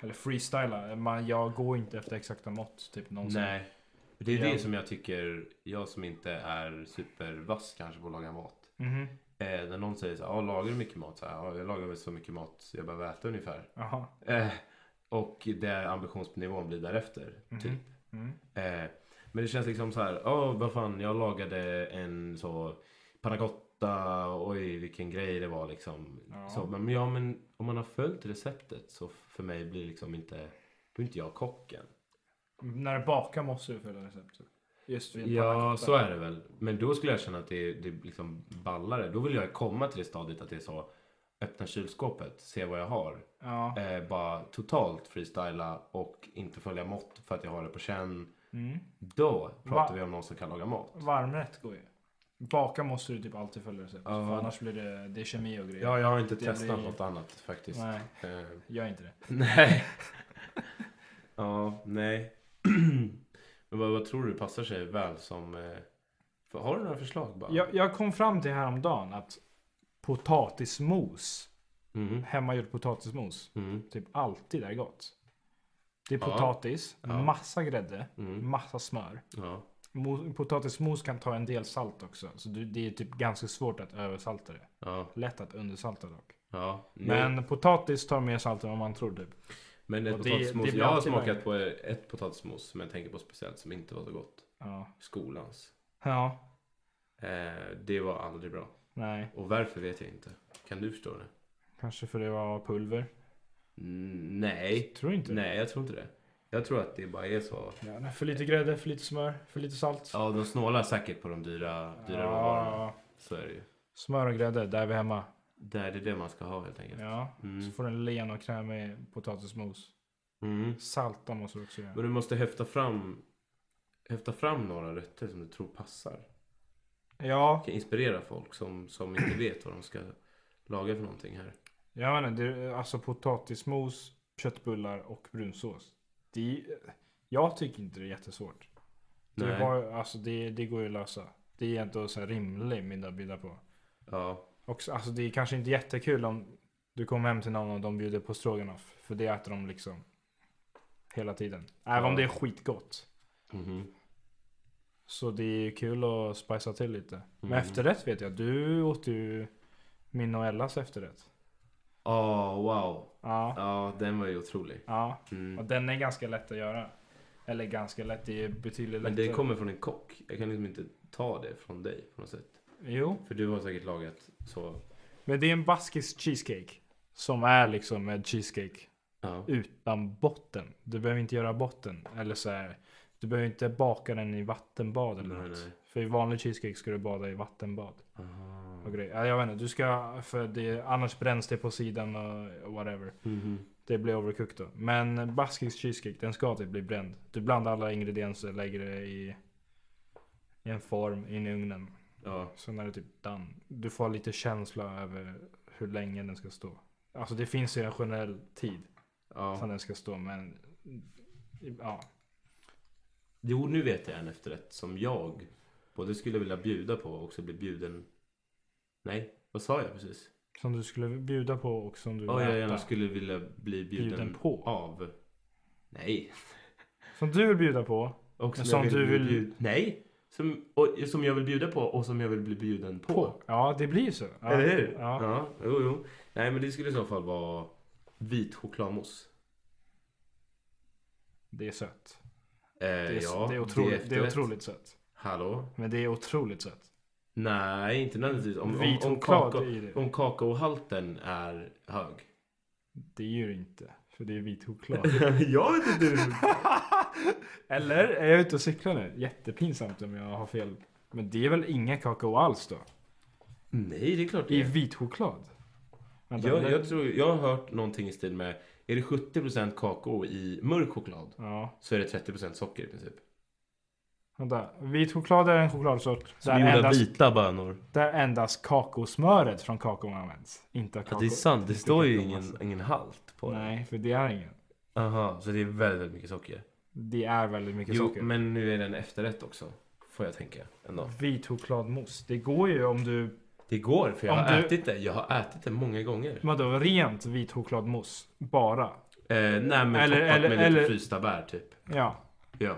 B: Eller freestyla. Man, jag går inte efter exakta mått typ någonsin.
A: Nej. Det är
B: Ja.
A: det som jag tycker, jag som inte är supervass kanske på att laga mat.
B: Mhm.
A: Eh, när någon säger så här, "Ja, lagar du mycket mat? Så här, "Ja, jag lagar väl så mycket mat så jag behöver äta ungefär.
B: Jaha.
A: Eh, och det ambitionsnivån blir därefter.
B: Mhm.
A: Typ.
B: Mm.
A: Eh, men det känns liksom så här, ja vad fan jag lagade en så panagotta, oj vilken grej det var liksom.
B: Ja.
A: Så, men ja men om man har följt receptet så för mig blir liksom inte, då är inte jag kocken.
B: När du bakar måste du följa receptet. Just vid en
A: Ja,
B: pannacotta.
A: så är det väl. Men då skulle jag känna att det, det liksom ballare. Då vill jag komma till det stadiet att det är så öppna kylskåpet, se vad jag har.
B: Ja.
A: Eh, bara totalt freestyla och inte följa mått för att jag har det på känn.
B: Mm.
A: Då pratar
B: Va-
A: vi om någon som kan laga mat.
B: Varmrätt går ju. Baka måste du typ alltid följa recept.
A: Ja.
B: För annars blir det, det är kemi och grejer.
A: Ja, jag har inte
B: Det
A: testat
B: blir-
A: något annat faktiskt.
B: Nej,
A: Eh,
B: gör inte det.
A: nej. ja, nej. Men vad, vad tror du passar sig väl som... Eh... För, har du några förslag bara?
B: Jag, jag kom fram till häromdagen att potatismos,
A: Mhm.
B: hemmagjord potatismos,
A: Mm.
B: typ alltid är gott. Det är
A: Ja.
B: potatis,
A: Ja.
B: massa grädde,
A: Mm.
B: massa smör.
A: Ja.
B: Mo- Potatismos kan ta en del salt också, så du- det är typ ganska svårt att översalta det.
A: Ja.
B: Lätt att undersalta dock.
A: Ja, men,
B: Men potatis tar mer salt än vad man tror typ.
A: men ett
B: och det-
A: potatismos.
B: det blir
A: jag har
B: alltid
A: smakat
B: värre.
A: på ett potatismos som jag tänker på speciellt som inte var så gott.
B: Ja.
A: Skolans.
B: ja,
A: Eh, det var aldrig bra.
B: nej.
A: Och varför vet jag inte. Kan du förstå det?
B: Kanske för det var pulver.
A: Mm, nej,
B: Tror inte.
A: nej jag tror inte det. Jag tror att det bara är så.
B: Ja, nej, för lite grädde, för lite smör, för lite salt.
A: Ja, de snålar säkert på de dyra, dyra råvarorna.
B: Ja,
A: Så är det ju.
B: smör och grädde, där vi är hemma.
A: Där det är det man ska ha helt enkelt.
B: Ja. Så
A: Mm.
B: får du en len och krämig potatismos.
A: Mm.
B: Salta måste du också göra.
A: Men du måste häfta fram, häfta fram några rätter som du tror passar.
B: Ja,
A: Kan inspirera folk som, som inte vet vad de ska laga för någonting här.
B: jag menar, det är, alltså potatismos, köttbullar och brunsås. Det är, jag tycker inte det är jättesvårt. Det,
A: Nej.
B: var, alltså, det, det går ju att lösa. Det är ändå så här rimlig middag att bjuda på.
A: Ja,
B: Också, alltså det är kanske inte jättekul om du kommer hem till någon och de bjuder på stroganoff. För det äter de liksom hela tiden. Även om
A: Ja.
B: det är skitgott.
A: mhm.
B: Så det är ju kul att spicea till lite. Men
A: Mm.
B: efterrätt vet jag, du åt ju min och Ellas efterrätt.
A: Ah, wow.
B: Ja. ja.
A: Ja, den var ju otrolig.
B: Och
A: Mm.
B: den är ganska lätt att göra. Eller ganska lätt, det är betydligt
A: Men
B: lättare.
A: det kommer från en kock. Jag kan liksom inte ta det från dig på något sätt.
B: Jo.
A: För du har säkert lagat så.
B: Men det är en baskisk cheesecake. Som är liksom en cheesecake
A: Ja.
B: utan botten. Du behöver inte göra botten. Eller så här, du behöver inte baka den i vattenbad eller
A: Nej,
B: något.
A: nej.
B: För i vanlig cheesecake ska du bada i vattenbad.
A: Aha.
B: Och grejer. Ja, Jag vet inte, du ska, för det, annars bränns det på sidan och whatever.
A: Mhm.
B: Det blir overcooked då. Men baskisk cheesecake, den ska typ bli bränd. Du blandar alla ingredienser, lägger det i, i en form in i ugnen.
A: Ja.
B: Sen är det typ done. Du får lite känsla över hur länge den ska stå. Alltså det finns ju en generell tid
A: ja.
B: som den ska stå men... Ja.
A: Jo, nu vet jag en efterrätt som jag både skulle vilja bjuda på och också bli bjuden... Nej, vad sa jag precis?
B: Som du skulle bjuda på och som du
A: Ja,
B: vill
A: jag
B: äta.
A: gärna skulle vilja bli bjuden,
B: Bjuden på.
A: av. Nej.
B: Som du vill bjuda på.
A: Och
B: Men som du
A: bli
B: vill-
A: bjud- Nej. Som, och, som jag vill bjuda på och som jag vill bli bjuden på.
B: På. Ja, det blir ju så. Ja.
A: Eller hur?
B: Ja.
A: jo, jo. Nej, men det skulle i så fall vara vit chokladmousse.
B: Det är sött.
A: Eh,
B: Det är,
A: ja,
B: det är, otroligt, det är
A: efterrätt.
B: otroligt sött.
A: Hallå?
B: Men det är otroligt sött.
A: Nej, inte nödvändigtvis. Om, om,
B: Vit
A: om,
B: choklad
A: kakao,
B: i det.
A: om kakaohalten är hög.
B: Det är ju inte. För det är vit choklad.
A: jag vet inte hur
B: Eller är jag ute och cyklar nu? Jättepinsamt om jag har fel. Men det är väl ingen kakao alls då?
A: Nej, det är klart det
B: I
A: är.
B: vit choklad? Vänta,
A: Jag,
B: eller-
A: jag, tror, jag har hört någonting i stil med, är det 70% kakao i mörk choklad
B: Ja,
A: så är det 30% socker i princip.
B: vänta. Vit choklad är en chokladsort
A: Som
B: där
A: gjorda
B: endast,
A: vita bönor.
B: där endast kakosmöret från kakaon används. Inte kakao.
A: Ja, det är sant, det
B: inte
A: står ju
B: kakao,
A: ingen,
B: alltså.
A: ingen halt på det.
B: Nej, för det är ingen.
A: Aha, så det är väldigt, väldigt mycket socker.
B: Det är väldigt mycket
A: Jo,
B: socker.
A: men nu är det en efterrätt också. Får jag tänka ändå.
B: Vit chokladmousse. Det går ju om du...
A: Det går, för jag
B: Om
A: har
B: du-
A: ätit det. Jag har ätit det många gånger.
B: Vadå, rent vit chokladmousse? Bara?
A: Eh, nej, men
B: Eller-
A: toppat
B: eller-
A: med lite
B: eller-
A: frysta bär typ.
B: Ja.
A: Ja,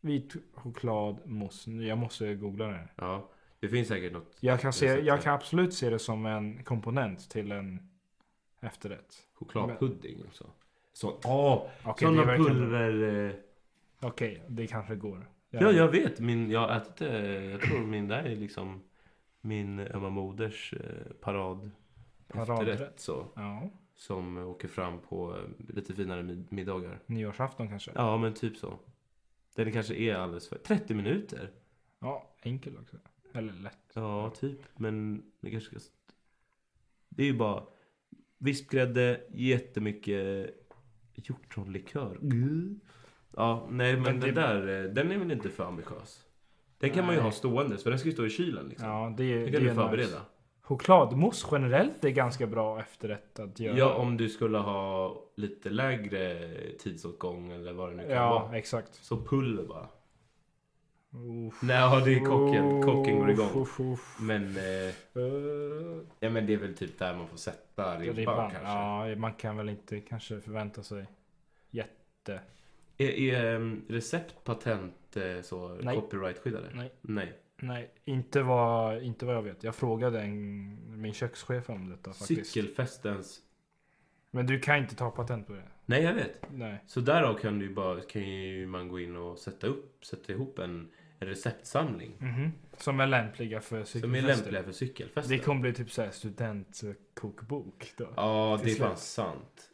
B: Vit chokladmousse. Jag måste googla det här.
A: ja. Det finns säkert något
B: Jag kan, se,
A: Recept,
B: jag
A: ja.
B: kan absolut se det som en komponent till en efterrätt.
A: chokladpudding också. Så, åh,
B: Okej, det, är
A: sådana
B: verkligen-
A: pulver. Eh,
B: Okej, det kanske går.
A: ja, jag vet. Min, jag har ätit det. Jag tror min där är liksom min ömma moders eh, parad.
B: Paradrätt.
A: efterrätt så.
B: Ja,
A: Som åker fram på eh, lite finare mid- middagar.
B: nyårsafton kanske. Ja,
A: Ja, men typ så. Den kanske är alldeles för... 30 minuter?
B: enkel också. Eller lätt.
A: Ja, typ. Men det kanske ska... Det är ju bara vispgrädde, jättemycket hjortronlikör. Mm. Ja, nej men,
B: Men det-
A: den där, eh, den är väl inte för ambitiös? Den kan man ju
B: Nej.
A: ha ståendes, för den ska ju stå i kylen liksom.
B: Ja, det är,
A: den
B: det
A: kan
B: är
A: du
B: nice.
A: förbereda.
B: Chokladmousse generellt är ganska bra efterrätt att göra.
A: Ja, om du skulle ha lite lägre tidsåtgång eller vad det nu kan
B: ja
A: vara.
B: exakt.
A: Så pulver bara.
B: Uff.
A: Nej, ja, det är kocken. Kocken går igång.
B: Uff, uff.
A: Men, eh,
B: Eh,
A: ja, men det är väl typ där man får sätta ribban,
B: Ribban
A: kanske.
B: ja, man kan väl inte kanske förvänta sig jätte...
A: Är, är ehm, recept patent eh, så
B: Nej. Mm.
A: copyright-skyddade?
B: Nej.
A: Nej.
B: Nej, inte vad, inte vad jag vet. Jag frågade en, min kökschef om detta faktiskt.
A: Cykelfestens...
B: Men du kan inte ta patent på det.
A: Nej, jag vet.
B: Nej.
A: Så därav kan, du ju bara, kan ju man gå in och sätta, upp, sätta ihop en, en receptsamling
B: Mhm. Som är lämpliga för
A: som är
B: cykelfester.
A: lämpliga för cykelfester.
B: Det kommer bli typ såhär studentkokbok då.
A: Ja,
B: till
A: det är
B: slut.
A: fan sant.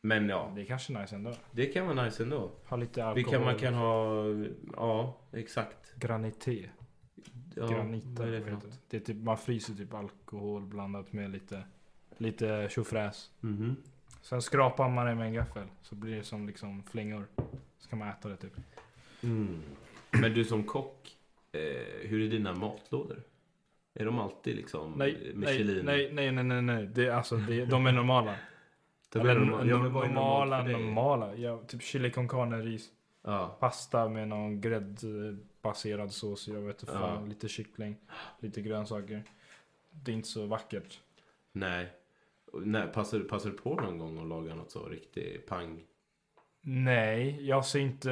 A: Men ja,
B: Det är kanske nice ändå.
A: det kan vara nice ändå.
B: Ha lite
A: Vi
B: alkohol.
A: kan, man kan ha... Ja, exakt.
B: Granité.
A: Ja,
B: Granita.
A: vad är det för
B: vad heter
A: något?
B: det är typ, man fryser typ alkohol blandat med lite, lite tjofräs.
A: Mhm.
B: Sen skrapar man det med en gaffel. Så blir det som liksom flingor. Så kan man äta det typ.
A: Mm. Men du som kock, eh, hur är dina matlådor? Är de alltid liksom
B: Nej, nej,
A: Michelin?
B: nej, nej, nej, nej, nej. Det, är alltså, det, de är normala.
A: De är
B: Eller
A: norma- ja, men vad är normalt
B: normala,
A: för dig?
B: normala. Ja, typ chili con carne, ris,
A: Ja.
B: pasta med någon gräddbaserad sås. Jag vet inte fan. Lite kyckling, lite grönsaker. Det är inte så vackert.
A: Nej. Nej, passar, passar du på någon gång att laga något så riktigt pang?
B: Nej, jag ser inte...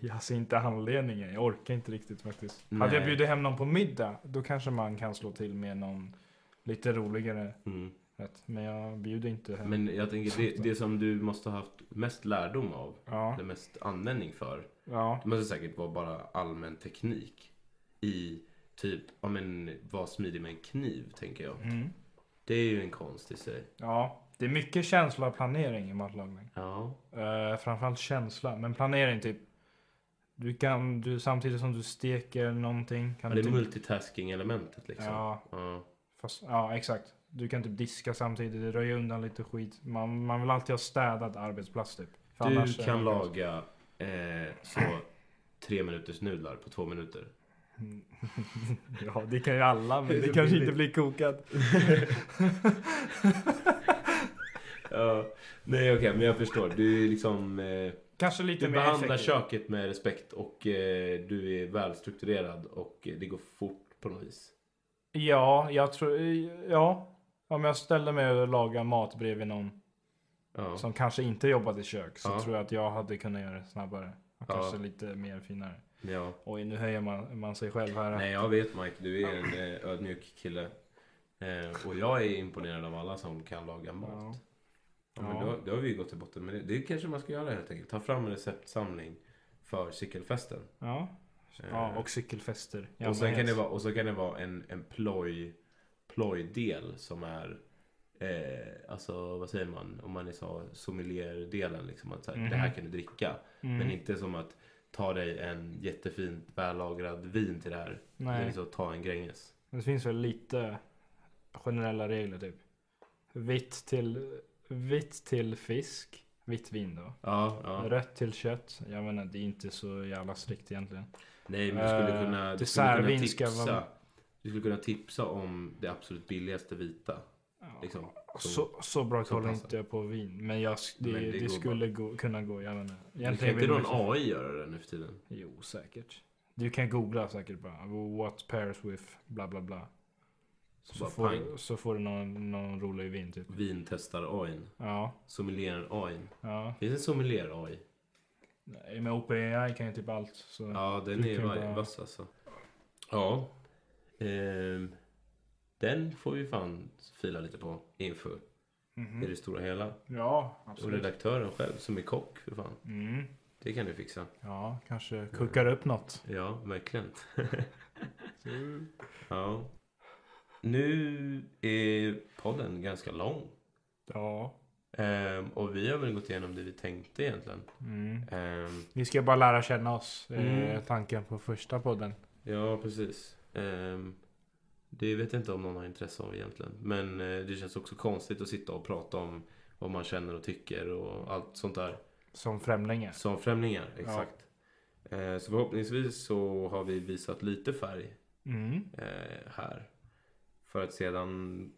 B: Jag ser inte anledningen. Jag orkar inte riktigt faktiskt. Hade jag
A: Nej.
B: bjudit hem någon på middag, då kanske man kan slå till med någon lite roligare
A: Mm.
B: rätt. Men jag bjuder inte hem.
A: Men jag tänker det, det som du måste ha haft mest lärdom av,
B: Ja,
A: eller mest användning för,
B: ja,
A: Det måste säkert vara bara allmän teknik. I typ, ja men var smidig med en kniv tänker jag.
B: mm.
A: Det är ju en konst i sig.
B: ja. Det är mycket känsla och planering i matlagning.
A: Ja.
B: Eh, framförallt känsla, men planering typ. Du kan, du, samtidigt som du steker någonting. Kan
A: Det
B: du
A: är
B: typ,
A: multitasking elementet liksom. Ja.
B: ja, fast, ja, exakt. Du kan typ diska samtidigt, röja undan lite skit. Man, man vill alltid ha städat arbetsplats typ. För
A: Du
B: annars är
A: kan
B: det-
A: laga eh, så tre minuters nudlar på två minuter.
B: Mm. ja, det kan ju alla, men
A: Det är
B: det,
A: så
B: kanske
A: billigt.
B: inte blir kokat.
A: Ja. Nej okej, men jag förstår. Du är liksom... Eh,
B: Kanske lite
A: du
B: mer
A: behandlar
B: effektivt.
A: köket med respekt och eh, du är välstrukturerad och eh, det går fort på något vis.
B: Ja, jag tror, ja. Om jag ställde mig och lagade mat bredvid någon
A: Ja.
B: som kanske inte jobbat i kök så
A: Ja.
B: tror jag att jag hade kunnat göra det snabbare. Och
A: Ja.
B: kanske lite mer finare.
A: ja.
B: Oj, nu höjer man, man sig själv här.
A: Nej, jag vet Mike. Du är en eh, ödmjuk kille. Eh, och jag är imponerad av alla som kan laga mat. Ja.
B: Ja.
A: men
B: Ja.
A: då, då har vi ju gått till botten med det. Det kanske man ska göra helt enkelt. Ta fram en receptsamling för cykelfesten.
B: Ja.
A: Eh,
B: ja, och cykelfester.
A: och, sen kan det
B: helst.
A: vara, och så kan det vara en, en ploj, plojdel som är Eh, alltså vad säger man om man är så sommelierdelen liksom att så här, det här
B: Mhm.
A: kan du dricka
B: Mm.
A: men inte som att ta dig en jättefint vällagrad vin till det här. Det är
B: Mm. Nej,
A: så att ta en Gränges.
B: men det finns väl lite generella regler typ. Vitt till, vitt till fisk, vitt vin då.
A: Ja, ja.
B: Rött till kött. Jag menar, det är inte så jävla strikt egentligen.
A: Nej men du skulle
B: Eh,
A: kunna, du skulle kunna
B: dessertvin ska
A: tipsa
B: vara-
A: Du skulle kunna tipsa om det absolut billigaste vita
B: Ja.
A: liksom.
B: Så, så bra
A: så
B: koll
A: passar.
B: inte jag på vin. Men, jag, sk- det,
A: Men det
B: det,
A: går
B: skulle gå, kunna gå. Jag menar,
A: Men Kan inte
B: vill
A: någon
B: man-
A: AI göra det nu för tiden?
B: Jo, säkert. Du kan googla säkert bara. What pairs with bla bla bla.
A: Så,
B: Så
A: bara
B: får,
A: pang. Mm.
B: så får du någon, någon rolig vin typ.
A: Vintestar AI.
B: Ja,
A: Sommelier AI.
B: ja.
A: Finns en sommelier AI?
B: Nej, men OpenAI kan ju typ allt. Så.
A: Ja den
B: Du
A: är
B: kan
A: var-
B: bara-
A: vass alltså. Ja. Ehm, den får vi fan fila lite på inför.
B: Mhm.
A: I det stora hela.
B: Ja,
A: Och
B: absolut.
A: redaktören själv som är kock för fan.
B: Mm.
A: Det kan du fixa.
B: Ja, kanske
A: Mm.
B: kuckar upp något.
A: Ja, verkligen. Ja. Nu är podden ganska lång.
B: Ja.
A: Ehm, och vi har väl gått igenom det vi tänkte egentligen.
B: Mm.
A: Ehm,
B: Ni ska bara lära känna oss. eh,
A: Mm.
B: Tanken på första podden.
A: ja, precis. Ehm, det vet jag inte om någon har intresse av egentligen. Men eh, det känns också konstigt att sitta och prata om vad man känner och tycker och allt sånt där.
B: Som främlingar.
A: Som främlingar, exakt. Eh, så förhoppningsvis så har vi visat lite färg
B: Mm.
A: eh, här. För att sedan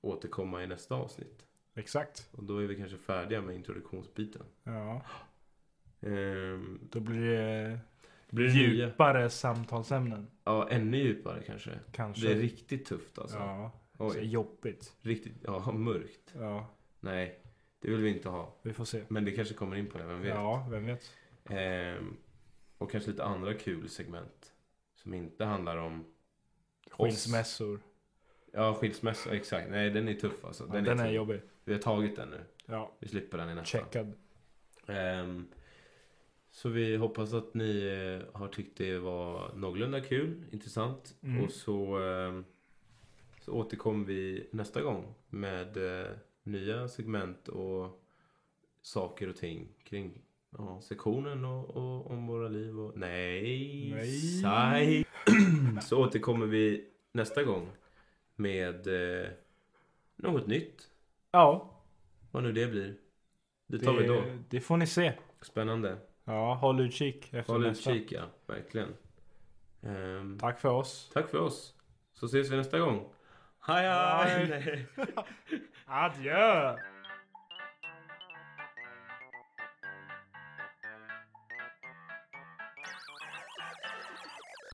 A: återkomma i nästa avsnitt.
B: Exakt.
A: Och då är vi kanske färdiga med introduktionsbiten.
B: Ja.
A: Ehm,
B: Då blir det
A: blir det nya?
B: djupare samtalsämnen.
A: Ja, ännu djupare kanske.
B: Kanske.
A: Det är riktigt tufft alltså.
B: Ja. Så
A: Oj,
B: jobbigt.
A: riktigt, ja mörkt.
B: Ja.
A: Nej, det vill vi inte ha.
B: Vi får se.
A: Men det kanske kommer in på det, vem vet.
B: Ja, vem vet.
A: Ehm, och kanske lite andra kul segment. Som inte handlar om...
B: Skilsmässor.
A: Ja, skilsmässa, exakt. Nej, den är tuff alltså.
B: Den, den är
A: tuff.
B: jobbig.
A: Vi har tagit den nu.
B: Ja,
A: Vi slipper den i nästa.
B: checkad.
A: Ehm, så vi hoppas att ni eh, har tyckt det var någorlunda kul, intressant.
B: Mm.
A: Och så, ehm, så återkommer vi nästa gång med eh, nya segment och saker och ting kring ja, sektionen och, och om våra liv. Och... Nej,
B: Nej.
A: saj. så återkommer vi nästa gång med eh, något nytt,
B: Ja,
A: vad nu det blir. Det
B: det,
A: tar vi då.
B: det får ni se.
A: Spännande.
B: Ja, håll utkik efter
A: Håll
B: nästa.
A: utkik, ja. Verkligen. Ehm,
B: Tack för oss.
A: tack för oss. Så ses vi nästa gång. Hej, hej!
B: Adjö!